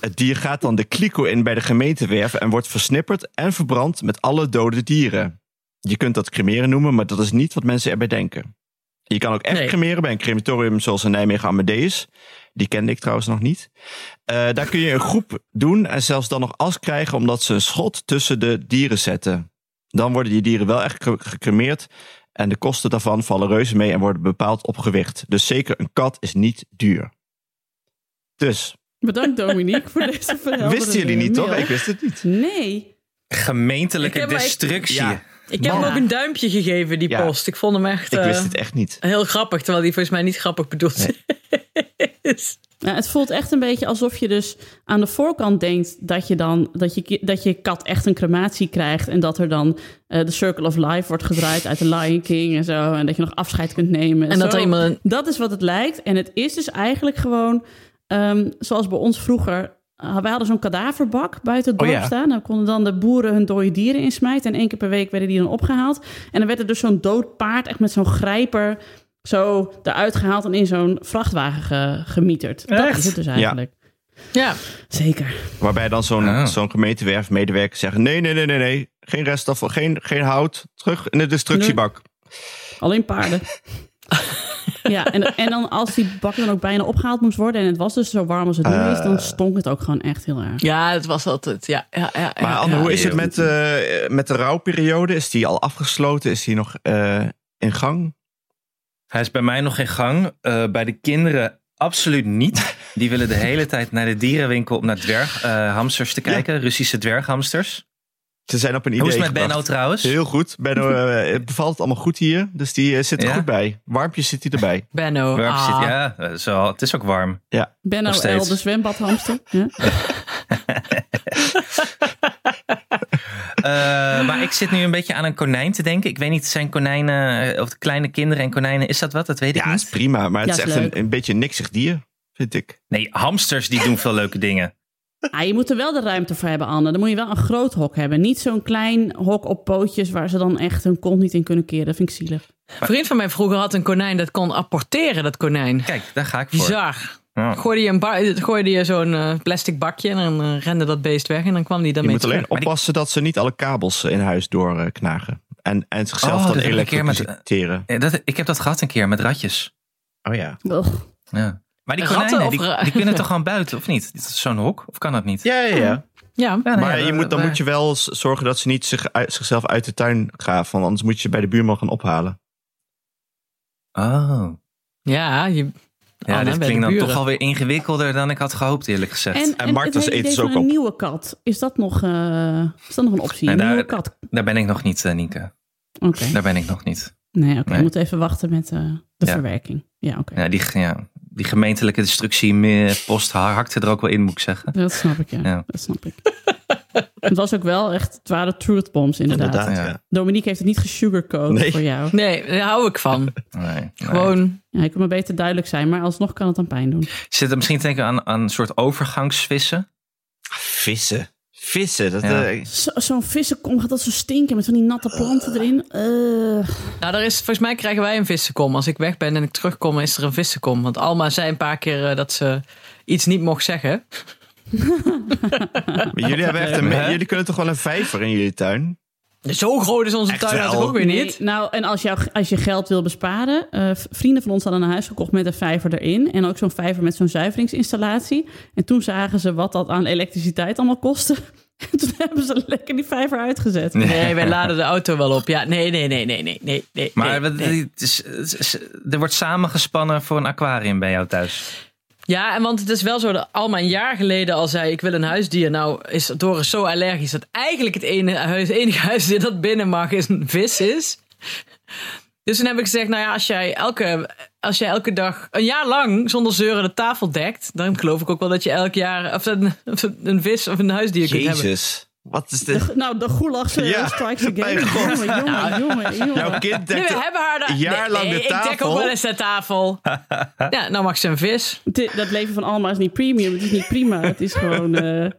S5: Het dier gaat dan de kliko in bij de gemeentewerf en wordt versnipperd en verbrand met alle dode dieren. Je kunt dat cremeren noemen, maar dat is niet wat mensen erbij denken. Je kan ook echt
S3: Nee.
S5: cremeren bij een crematorium zoals in Nijmegen Amadeus. Die kende ik trouwens nog niet. Eh, daar kun je een groep doen en zelfs dan nog as krijgen omdat ze een schot tussen de dieren zetten. Dan worden die dieren wel echt ge- gecremeerd en de kosten daarvan vallen reuze mee en worden bepaald op gewicht. Dus zeker een kat is niet duur. Dus,
S2: Bedankt Dominique voor deze verhaal.
S5: wisten jullie niet toch? Ik wist het niet.
S2: Nee.
S3: Ik
S4: Gemeentelijke
S3: heb maar-
S4: destructie.
S5: Ja.
S3: Ik heb hem
S2: Ja.
S3: ook een duimpje gegeven, die
S5: Ja.
S3: post. Ik vond hem echt
S5: Ik
S3: eh,
S5: wist het echt niet.
S3: heel grappig, terwijl die volgens mij niet grappig bedoeld is.
S2: Nou, het voelt echt een beetje alsof je dus aan de voorkant denkt dat je dan dat je, ki- dat je kat echt een crematie krijgt en dat er dan eh de Circle of Life wordt gedraaid uit de Lion King en zo en dat je nog afscheid kunt nemen.
S3: En dat
S2: zo.
S3: er iemand een-
S2: dat is wat het lijkt en het is dus eigenlijk gewoon ehm, zoals bij ons vroeger eh, wij hadden zo'n kadaverbak buiten het
S5: Oh,
S2: dorp
S5: ja.
S2: staan. Daar konden dan de boeren hun dode dieren insmijten. En één keer per week werden die dan opgehaald. En dan werd er dus zo'n dood paard, echt met zo'n grijper, zo eruit gehaald en in zo'n vrachtwagen ge- gemieterd. Dat
S3: Echt?
S2: is het dus eigenlijk.
S3: Ja,
S2: Zeker.
S5: Waarbij dan zo'n
S4: Ah.
S5: zo'n gemeentewerfmedewerker zeggen: nee, nee, nee, nee, nee. Geen restafval, geen, geen hout. Terug in de destructiebak.
S2: Alleen paarden. ja, en, en dan als die bak dan ook bijna opgehaald moest worden... en het was dus zo warm als het nu is... dan stonk het ook gewoon echt heel erg.
S3: ja, dat was altijd. Ja, ja, ja, ja,
S5: Maar Anne,
S3: ja.
S5: hoe is het met, eh, met de rouwperiode? Is die al afgesloten? Is die nog eh, in gang?
S4: Hij is bij mij nog in gang. Eh, bij de kinderen absoluut niet. Die willen de hele tijd naar de dierenwinkel om naar dwerghamsters hamsters te kijken. Russische dwerghamsters.
S5: Ze zijn op een idee
S4: Hoe is het met
S5: gebracht.
S4: Benno trouwens?
S5: Heel goed. Benno, eh, het bevalt het allemaal goed hier. Dus die eh, zit er
S4: Ja?
S5: goed bij. Warmpjes zit hij erbij.
S3: Benno?
S4: Waar
S3: Ah.
S4: zit- ja, eh, zo, het is ook warm.
S2: Benno
S4: Nog
S2: L,
S4: steeds.
S2: de zwembadhamster. Ja?
S4: Eh, maar ik zit nu een beetje aan een konijn te denken. Ik weet niet, zijn konijnen, eh, of de kleine kinderen en konijnen, is dat wat? Dat weet ik
S5: Ja,
S4: niet.
S5: is prima. Maar
S2: Ja,
S5: het is
S2: is
S5: echt
S2: leuk.
S5: een, een beetje een niksig dier, vind ik.
S4: Nee, hamsters die doen veel leuke dingen.
S2: Ah, je moet er wel de ruimte voor hebben, Anne. Dan moet je wel een groot hok hebben. Niet zo'n klein hok op pootjes... waar ze dan echt hun kont niet in kunnen keren. Dat vind ik zielig.
S3: Een vriend van mij vroeger had een konijn dat kon apporteren, dat konijn.
S4: Kijk, daar ga ik voor.
S3: Bizar.
S4: Ja.
S5: Oh.
S3: Gooide je, een ba- gooide je zo'n eh, plastic bakje en dan eh, rende dat beest weg en dan kwam die
S5: Je
S3: daarmee
S5: moet alleen
S3: terug.
S4: Maar die-
S5: oppassen dat ze niet alle kabels eh, in huis doorknagen. En, en zichzelf
S4: Oh,
S5: dan
S4: dat heb ik een keer met-
S5: elektriciteren.
S4: Ja, Eh, dat, ik heb dat gehad een keer met ratjes.
S5: Oh ja.
S2: Ugh.
S4: Ja. Maar die
S3: Ratten
S4: konijnen,
S3: of
S4: die,
S3: ra-
S4: die kunnen toch gewoon buiten, of niet? Dit is Zo'n hok, of kan dat niet?
S5: Ja, ja, ja.
S3: Ja,
S4: Ja, nee,
S5: Maar
S4: Oh, nou ja,
S5: je moet, dan
S4: waar-
S5: moet je wel z- zorgen dat ze niet zich, uit- zichzelf uit de tuin gaan. Want anders moet je ze bij de buurman gaan ophalen.
S4: Oh.
S3: ja je,
S4: Ja,
S3: Anne, Oh, bij
S4: dit
S3: de
S4: klinkt dan
S3: buren.
S4: toch alweer ingewikkelder dan ik had gehoopt, eerlijk gezegd.
S2: En, en
S5: Martens
S2: het hele
S5: eten
S2: idee
S5: ze
S2: van
S5: ook
S2: een
S5: op.
S2: nieuwe kat. Is dat nog, eh, is dat nog een optie?
S4: Nee,
S2: een
S4: daar-
S2: nieuwe kat.
S4: Daar ben ik nog niet, eh, Nienke.
S2: Oké.
S4: Daar ben ik nog niet.
S2: Nee, oké.
S4: Nee.
S2: We moeten even wachten met eh, de
S4: Ja.
S2: verwerking. Ja, oké.
S4: Ja, die, ja, die gemeentelijke destructie eh, post ha- hakte er ook wel in, moet ik zeggen.
S2: Dat snap ik, ja.
S4: Ja.
S2: Dat snap ik. het was ook wel echt, het waren truth bombs inderdaad.
S5: Inderdaad.
S4: Ja.
S5: ja.
S2: Dominique heeft het niet gesugarcoat
S5: Nee.
S2: voor jou.
S3: Nee, daar hou ik van.
S4: Nee, nee.
S3: Gewoon,
S2: Ja, ik kan maar beter duidelijk zijn, maar alsnog kan het dan pijn doen.
S4: Zit er misschien te denken aan, aan een soort overgangsvissen?
S5: Vissen. Vissen. Dat,
S4: Ja.
S5: eh,
S2: Zo- Zo'n vissenkom gaat dat zo stinken met van die natte planten erin. Eh,
S3: nou, er is, volgens mij krijgen wij een vissenkom. Als ik weg ben en ik terugkom, is er een vissenkom. Want Alma zei een paar keer eh, dat ze iets niet mocht zeggen.
S5: maar jullie, hebben echt een,
S4: Hè?
S5: jullie kunnen toch wel een vijver in jullie tuin?
S3: Zo groot is onze
S5: Echt
S3: tuin
S5: wel?
S3: natuurlijk ook weer
S2: nee,
S3: niet.
S2: Nou, en als, jou, als je geld wil besparen. eh, v- vrienden van ons hadden een huis gekocht met een vijver erin. En ook zo'n vijver met zo'n zuiveringsinstallatie. En toen zagen ze wat dat aan elektriciteit allemaal kostte. En toen hebben ze lekker die vijver uitgezet.
S3: Nee, wij laden de auto wel op. Ja, nee, nee, nee, nee, nee, nee. nee
S4: Maar
S3: nee,
S4: wat-
S3: nee.
S4: het is- het is- er wordt samengespannen voor een aquarium bij jou thuis.
S3: Ja, en want het is wel zo dat Alma een jaar geleden al zei: Ik wil een huisdier. Nou, is Doris zo allergisch dat eigenlijk het ene huis, enige huisdier dat binnen mag is een vis is. Dus toen heb ik gezegd: Nou ja, als jij elke, als jij elke dag een jaar lang zonder zeuren de tafel dekt, dan geloof ik ook wel dat je elk jaar of een, of een vis of een huisdier kunt hebben.
S5: Jezus. Wat is dit?
S2: De- nou, de goelag eh,
S5: Ja,
S2: strikes
S5: mijn
S2: again.
S5: god.
S2: Jongen, jongen, jongen, jongen.
S5: Jouw kind
S3: Nee,
S5: denkt...
S3: we hebben haar daar.
S5: een jaar
S3: nee,
S5: lang de
S3: nee, Ik dek
S5: tafel?
S3: ook wel eens de tafel. Ja, nou mag ze een vis.
S2: Dit- dat leven van Alma is niet premium. Het is niet prima. Het is gewoon, eh,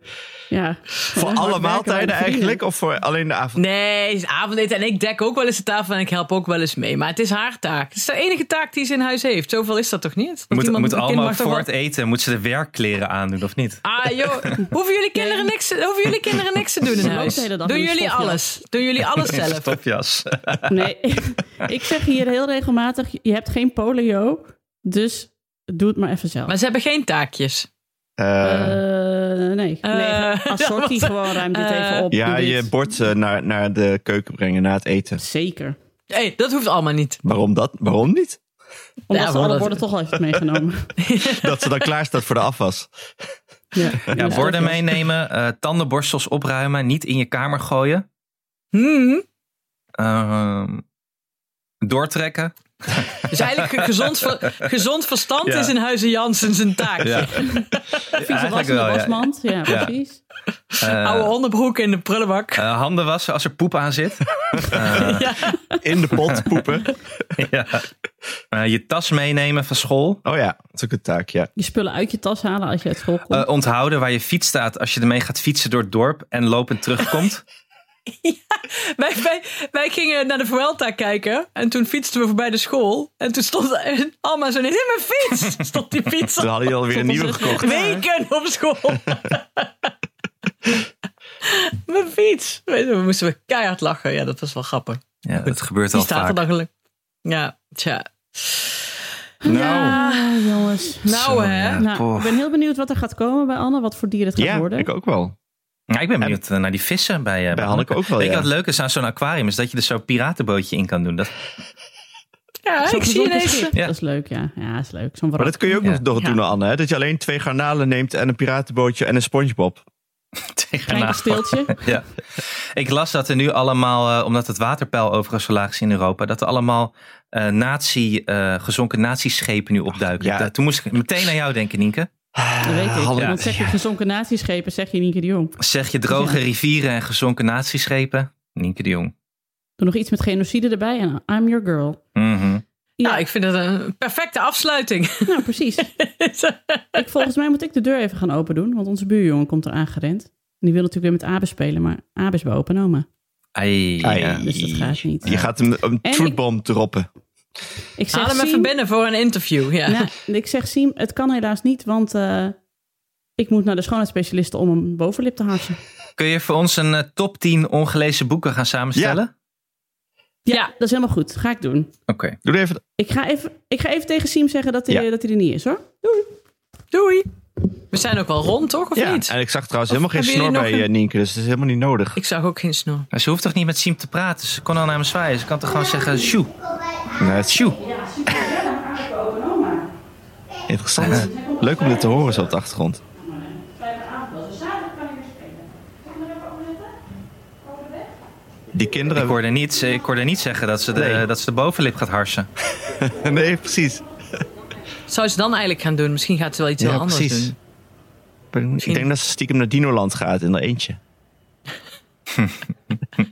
S2: ja.
S5: voor alle maaltijden eigenlijk? Of voor alleen de avond?
S3: Nee, het is avondeten. En ik dek ook wel eens de tafel en ik help ook wel eens mee. Maar het is haar taak. Het is de enige taak die ze in huis heeft. Zoveel is dat toch niet? Dat
S4: Moet,
S3: iemand-
S4: moet
S3: een kind
S4: allemaal
S3: mag toch
S4: voor
S3: wel-
S4: het eten, moet ze de werkkleren aandoen of niet?
S3: Ah joh, hoeven jullie kinderen niks, hoeven jullie kinderen niks te doen in
S2: loopt
S3: huis?
S2: de hele dag
S3: Doen
S2: in een
S3: jullie
S2: stofjas.
S3: alles? Doen jullie alles zelf?
S4: Stopjas.
S2: Nee, ik zeg hier heel regelmatig: je hebt geen polio, dus doe het maar even zelf.
S3: Maar ze hebben geen taakjes.
S5: Eh,
S2: Eh, nee, nee,
S3: Eh,
S2: assortie
S3: dat
S2: gewoon ruim dit
S3: eh,
S2: even op.
S5: ja,
S2: Doe dit.
S5: je bord eh, naar, naar de keuken brengen na het eten.
S2: Zeker.
S3: Hé, hey, dat hoeft allemaal niet.
S5: Waarom dat? Waarom niet?
S2: Omdat
S3: Ja,
S2: ze alle
S3: dat-
S2: borden toch al heeft meegenomen.
S5: Dat ze dan klaar staat voor de afwas.
S2: ja,
S4: Ja,
S2: Dus
S4: borden
S2: dat-
S4: meenemen, eh, tandenborstels opruimen, niet in je kamer gooien.
S3: Hmm.
S4: Ehm, doortrekken.
S3: Dus eigenlijk een gezond, ver- gezond verstand
S4: Ja.
S3: is in huizen Jansen zijn taak.
S4: Ja,
S2: Vieze was in de wasmand. Ja,
S4: Ja.
S2: precies.
S3: Oude onderbroek in de prullenbak.
S4: Eh, handen wassen als er poep aan zit.
S3: ja.
S5: In de pot poepen.
S4: ja. Eh, je tas meenemen van school.
S5: Oh ja, dat is ook een taak, ja.
S2: Je spullen uit je tas halen als je uit school komt.
S4: Eh, onthouden waar je fiets staat als je ermee gaat fietsen door het dorp en lopend terugkomt.
S3: Wij, wij, wij gingen naar de Vuelta kijken. En toen fietsten we voorbij de school. En toen stond en Alma zo in mijn fiets. Stond die fiets
S5: Toen
S3: al
S5: hadden jullie alweer een
S2: Stond
S5: nieuwe
S2: ons
S5: gekocht.
S3: weken op school. mijn fiets. Weet je, We moesten we keihard lachen. Ja, dat was wel grappig.
S4: Ja, dat gebeurt
S3: Die
S4: al
S3: staat er
S4: vaak.
S3: dan gelukkig. Ja, tja.
S5: Nou,
S2: Ah, jongens.
S3: Nou
S4: Zo,
S3: hè.
S4: ja.
S2: Nou,
S4: poh.
S2: ik ben heel benieuwd wat er gaat komen bij Anne. Wat voor dier het gaat
S5: ja,
S2: worden.
S5: ik ook wel.
S4: Ja, ik ben benieuwd eh, naar die vissen bij, eh, bij,
S5: Hanneke ook wel,
S4: Weet je
S5: ja.
S4: wat leuk is aan zo'n aquarium? Is dat je er zo'n piratenbootje in kan doen. Dat,
S3: Ja,
S2: Zo'n
S3: ik zie
S2: gezond
S3: ineens...
S2: schip.
S4: Ja.
S2: Dat is leuk, ja. Ja, dat is leuk. Zo'n
S5: Maar
S2: verrassing.
S5: dat kun je ook
S4: Ja.
S5: nog nog
S2: Ja.
S5: doen, Anne. Hè? Dat je alleen twee garnalen neemt en een piratenbootje en een SpongeBob.
S2: Klein
S5: nou.
S4: tegenaan.
S2: kasteeltje.
S4: Ja. Ik las dat er nu allemaal, eh, omdat het waterpeil overigens zo laag is in Europa, dat er allemaal eh, nazi, eh, gezonken natieschepen nu opduiken.
S5: Ja.
S4: Da- toen moest ik meteen aan jou denken, Nienke.
S2: Dat weet ik.
S5: Hallo.
S2: Want zeg je gezonken natieschepen, zeg je Nienke de Jong.
S4: Zeg je droge rivieren en gezonken natieschepen? Nienke de Jong.
S2: Doe nog iets met genocide erbij en I'm your girl.
S4: Mhm.
S2: Ja,
S3: Nou, ik vind dat een perfecte afsluiting.
S2: nou precies. ik, volgens mij moet ik de deur even gaan open doen, want onze buurjongen komt eraan gerend. En die wil natuurlijk weer met Abe spelen, maar Abe is bij opa en oma.
S4: Ai,
S5: Ai.
S4: ja.
S2: Dus dat gaat niet.
S5: Je gaat hem een
S2: En
S5: truthbomb droppen.
S2: Ik zeg,
S3: Haal hem
S2: Siem-
S3: even binnen voor een interview. Ja.
S2: Nou, ik zeg, Siem, het kan helaas niet, want eh, ik moet naar de schoonheidsspecialisten om een bovenlip te harsen.
S4: Kun je voor ons een eh, top 10 ongelezen boeken gaan samenstellen?
S2: Ja,
S3: Ja.
S2: dat is helemaal goed. Ga ik doen.
S4: Oké.
S5: Doe er even...
S2: Ik ga even, ik ga even tegen Siem zeggen dat hij,
S5: Ja.
S2: dat hij er niet is, hoor.
S3: Doei. We zijn ook wel rond, toch? Of
S5: Ja,
S3: niet?
S5: en ik zag trouwens helemaal geen
S3: hebben
S5: snor
S3: jullie
S5: bij
S3: nog
S5: eh, Nienke, dus dat is helemaal niet nodig.
S3: Ik zag ook geen snor.
S4: Maar ze hoeft toch niet met Siem te praten? Ze kon al naar hem zwaaien. Ze kan toch gewoon zeggen, sjoe,
S5: Nee, het is
S4: sjoe.
S5: interessant. Leuk om dit te horen zo op de achtergrond. Die
S4: Ik
S5: kinderen...
S4: hoorde niet, ik hoorde niet zeggen dat ze, de,
S5: Nee.
S4: dat ze de bovenlip gaat harsen.
S5: Nee, precies.
S3: Zou ze dan eigenlijk gaan doen? Misschien gaat ze wel iets heel
S5: Ja,
S3: anders
S5: precies.
S3: doen.
S5: Ik denk dat ze stiekem naar Dinoland gaat in haar eentje.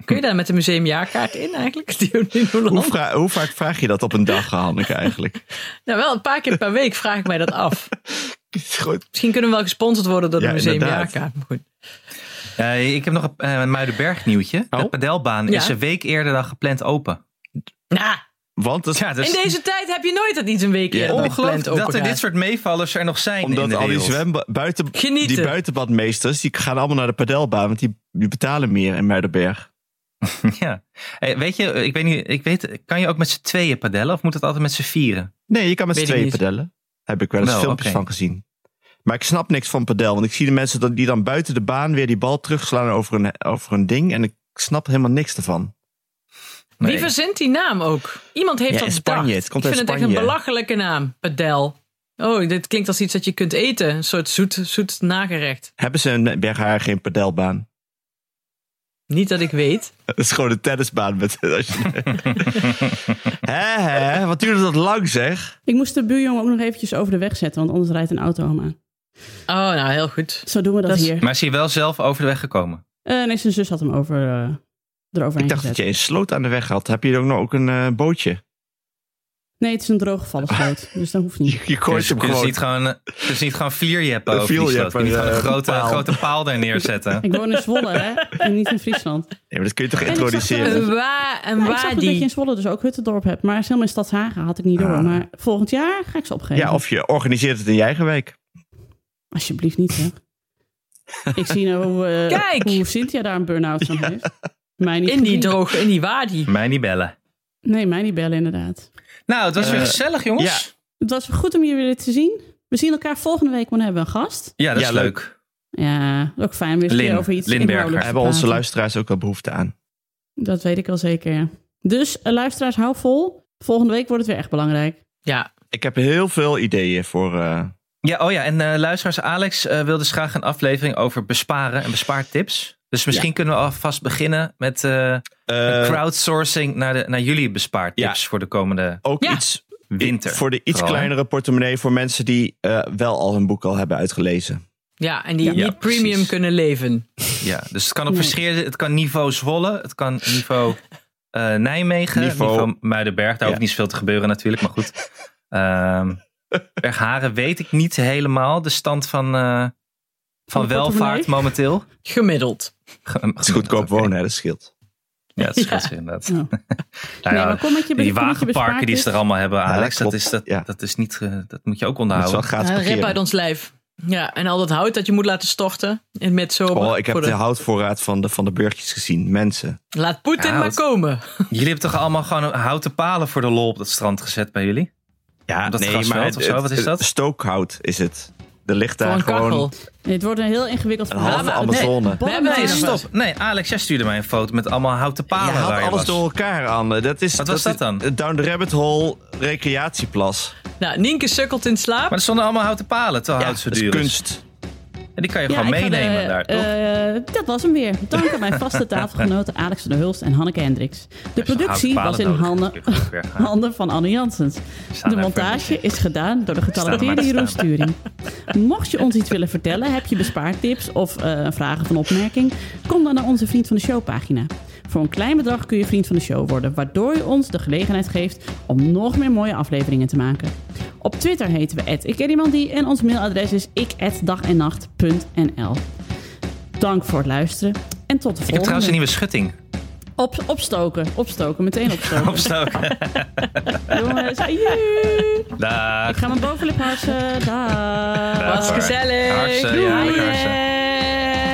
S3: Kun je daar met de museumjaarkaart in eigenlijk? Die doen in
S5: Hoe,
S3: Holland.
S5: vra- hoe vaak vraag je dat op een dag, Hanneke, eigenlijk?
S3: Nou, wel een paar keer per week vraag ik mij dat af.
S5: Goed.
S3: Misschien kunnen we wel gesponsord worden door de
S5: Ja,
S3: museumjaarkaart. Maar goed.
S4: Eh, ik heb nog een eh, een Muidenberg nieuwtje.
S5: Oh.
S4: De padelbaan
S3: Ja.
S4: is een week eerder dan gepland open.
S3: Nou,
S5: Want dat,
S4: Ja, dus
S3: in deze tijd heb je nooit dat iets een week
S5: Ja,
S3: eerder dan
S4: ongelooflijk
S3: gepland
S4: dat er
S3: open gaat.
S4: dit soort meevallers er nog zijn in
S5: Omdat
S4: de
S5: al die
S4: wereld.
S5: zwemba- buiten,
S3: Genieten.
S5: die buitenbadmeesters, die gaan allemaal naar de padelbaan, want die, die betalen meer in Muidenberg.
S4: Ja. Eh, weet je, ik weet niet, ik weet, kan je ook met z'n tweeën padellen of moet het altijd met z'n vieren?
S5: Nee, je kan met z'n
S3: Weet ik
S5: tweeën
S3: niet.
S5: padellen. Heb ik wel eens
S4: Wel,
S5: filmpjes
S4: oké.
S5: van gezien. Maar ik snap niks van padel, want ik zie de mensen dat- die dan buiten de baan weer die bal terugslaan over een, over een ding en ik snap helemaal niks ervan.
S4: Nee.
S3: Wie verzint die naam ook? Iemand heeft
S5: Ja,
S3: dat
S5: in Spanje.
S3: bedacht.
S5: Het komt
S3: ik
S5: uit
S3: vind het echt een
S5: Spanje.
S3: belachelijke naam. Padel. Oh, dit klinkt als iets dat je kunt eten. Een soort zoet, zoet nagerecht.
S5: Hebben ze in Berghaar geen padelbaan?
S3: Niet dat ik weet.
S5: Dat is gewoon een tennisbaan. Met, als je, hè, hè, wat duurde dat lang zeg?
S2: Ik moest de buurjongen ook nog eventjes over de weg zetten, want anders rijdt een auto hem aan.
S3: Oh, nou, heel goed.
S2: Zo doen we dat,
S3: Dat is-
S2: hier.
S4: Maar is hij wel zelf over de weg gekomen?
S2: Eh, nee, zijn zus had hem over, eh, eroverheen
S5: Ik dacht dat
S2: gezet.
S5: je een sloot aan de weg had. Heb je ook nog ook een eh, bootje?
S2: Nee, het is een drooggevallen sloot, dus dat hoeft niet.
S5: Je, je gooit
S4: Dus
S5: hem
S4: kun je
S5: gewoon.
S4: niet gewoon, eh, kun je niet gewoon vlierjeppen
S5: Een
S4: over die sloot? Kun je niet
S5: vlierjepper,
S4: gewoon een
S5: eh,
S4: grote
S5: paal.
S4: paal, grote paal daar neerzetten?
S2: Ik woon in Zwolle, hè? En niet in Friesland.
S5: Nee, maar dat kun je toch
S2: ik zag
S5: introduceren?
S3: Een wa een
S2: Nou, ik zag goed dat je in
S3: wadi.
S2: Zwolle dus ook Huttendorp hebt, maar is helemaal in Stadshagen had ik niet door.
S5: Ah.
S2: Maar volgend jaar ga ik ze opgeven.
S5: Ja, of je organiseert het in je eigen wijk.
S2: Alsjeblieft niet, zeg. ik zie nou hoe, eh,
S3: Kijk!
S2: hoe Cynthia daar een burn-out van heeft. Mij niet
S3: In die
S2: gezien.
S3: droge, in die
S5: Mm.
S3: wadi.
S4: Mij niet bellen.
S2: Nee, mij niet bellen inderdaad.
S4: Nou, het was weer
S5: Eh,
S4: gezellig, jongens.
S2: Het was goed om je weer te zien. We zien elkaar volgende week, want dan hebben we een gast.
S4: Ja, dat
S5: Ja,
S4: is
S5: leuk.
S4: leuk.
S2: Ja, ook fijn. Weer eens
S4: Lin-
S2: keer over iets
S4: Lin
S2: inhoudelijks
S4: Berger.
S2: te
S5: Hebben onze
S2: praten.
S5: luisteraars ook wel behoefte aan.
S2: Dat weet ik wel zeker, ja. Dus eh, luisteraars, hou vol. Volgende week wordt het weer echt belangrijk.
S3: Ja.
S5: Ik heb heel veel ideeën voor. eh,
S4: Ja, oh ja, en eh, luisteraars, Alex eh, wil dus graag een aflevering over besparen en bespaartips. Dus misschien kunnen we alvast beginnen met eh, een
S5: eh,
S4: crowdsourcing naar, de, naar jullie bespaartips voor de komende
S5: ook
S3: Ja.
S5: iets
S4: winter.
S5: voor de iets
S4: Vooral, hè?
S5: kleinere portemonnee voor mensen die eh, wel al hun boek al hebben uitgelezen.
S3: ja, en die
S5: Ja,
S3: niet premium
S5: precies.
S3: kunnen leven.
S4: Ja, dus het kan op
S2: Nee.
S4: verschillende... Het kan niveau Zwolle, het kan niveau eh, Nijmegen, niveau,
S5: Niveau-
S4: Muidenberg. Daar
S5: Ja.
S4: hoeft niet zoveel te gebeuren natuurlijk, maar goed. Ehm, Bergharen weet ik niet helemaal de stand van, eh,
S2: Van
S4: van
S2: de
S4: welvaart
S2: portemonnee?
S4: momenteel.
S3: Gemiddeld.
S5: Het is goedkoop wonen, hè, dat scheelt.
S4: Ja, dat scheelt inderdaad.
S2: Ja.
S4: Nou ja,
S2: maar kom met je kom met
S4: die
S2: je
S4: wagenparken die ze er
S2: bespaardheid.
S4: allemaal hebben, Ah,
S5: dat
S4: Alex, dat,
S5: klopt.
S4: is, dat,
S5: Ja.
S4: dat is niet... eh, dat moet je ook
S5: Het is wel
S4: onderhouden.
S5: gratis
S3: Ja, Nou, rip
S5: parkeren.
S3: uit ons lijf. Ja, en al dat hout dat je moet laten storten in midzomer.
S5: Oh, ik heb
S3: Voor
S5: de houtvoorraad van de, van de burgjes gezien. Mensen.
S3: Laat Poetin
S4: Ja,
S3: maar
S4: wat-
S3: komen.
S4: Jullie hebben toch allemaal gewoon houten palen voor de lol op dat strand gezet bij jullie?
S5: Ja,
S4: dat grasveld of zo, wat is dat?
S5: Stookhout is het. Er ligt
S3: Voor
S5: daar
S3: een kachel.
S5: gewoon
S2: Nee, het wordt een heel ingewikkeld
S5: een
S2: verhaal.
S5: halve
S3: maar-
S5: Amazone.
S3: We hebben
S4: Nee,
S3: deze nog
S4: stop. Nee, Alex, jij stuurde mij een foto met allemaal houten
S5: Je
S4: palen
S5: haalt
S4: waar je
S5: alles
S4: was.
S5: door elkaar aan. Dat is,
S4: Wat was dat
S5: is
S4: dan?
S5: Down the Rabbit Hole recreatieplas.
S3: Nou, Nienke sukkelt in slaap.
S4: Maar er stonden allemaal houten palen, terwijl hout zo
S5: dat is
S4: duur is.
S5: kunst.
S4: En die kan je
S2: Ja,
S4: gewoon
S2: ik ga de-
S4: meenemen daar, toch?
S2: eh, dat was hem weer. Dank aan mijn vaste tafelgenoten Alex van der Hulst en Hanneke Hendricks. De
S4: Als je
S2: productie
S4: houten
S2: was in
S4: palen
S2: handen,
S4: nodig hebt, kun je ook weer gaan.
S2: handen van Anne Janssens.
S4: Staan
S2: De
S4: daar
S2: montage is gedaan door de
S4: maar
S2: getalenteerde
S4: te
S2: Jeroen
S4: staan.
S2: Sturing. Mocht je ons iets willen vertellen, heb je bespaartips of eh, vragen van opmerking, kom dan naar onze Vriend van de Show pagina. Voor een klein bedrag kun je Vriend van de Show worden, waardoor je ons de gelegenheid geeft om nog meer mooie afleveringen te maken. Op Twitter heten we ikkenniemandie en ons mailadres is ik@dagennacht.nl. Dank voor het luisteren en tot de
S4: Ik heb
S2: volgende.
S4: trouwens een nieuwe schutting
S2: Op, opstoken, opstoken, meteen opstoken.
S4: opstoken.
S2: Jongens, joe.
S4: Daag.
S2: Ik ga mijn bovenlip harsen. Daag.
S3: Was
S4: Waar.
S3: gezellig.
S4: Harsen, ja,
S3: Doei.
S4: harsen.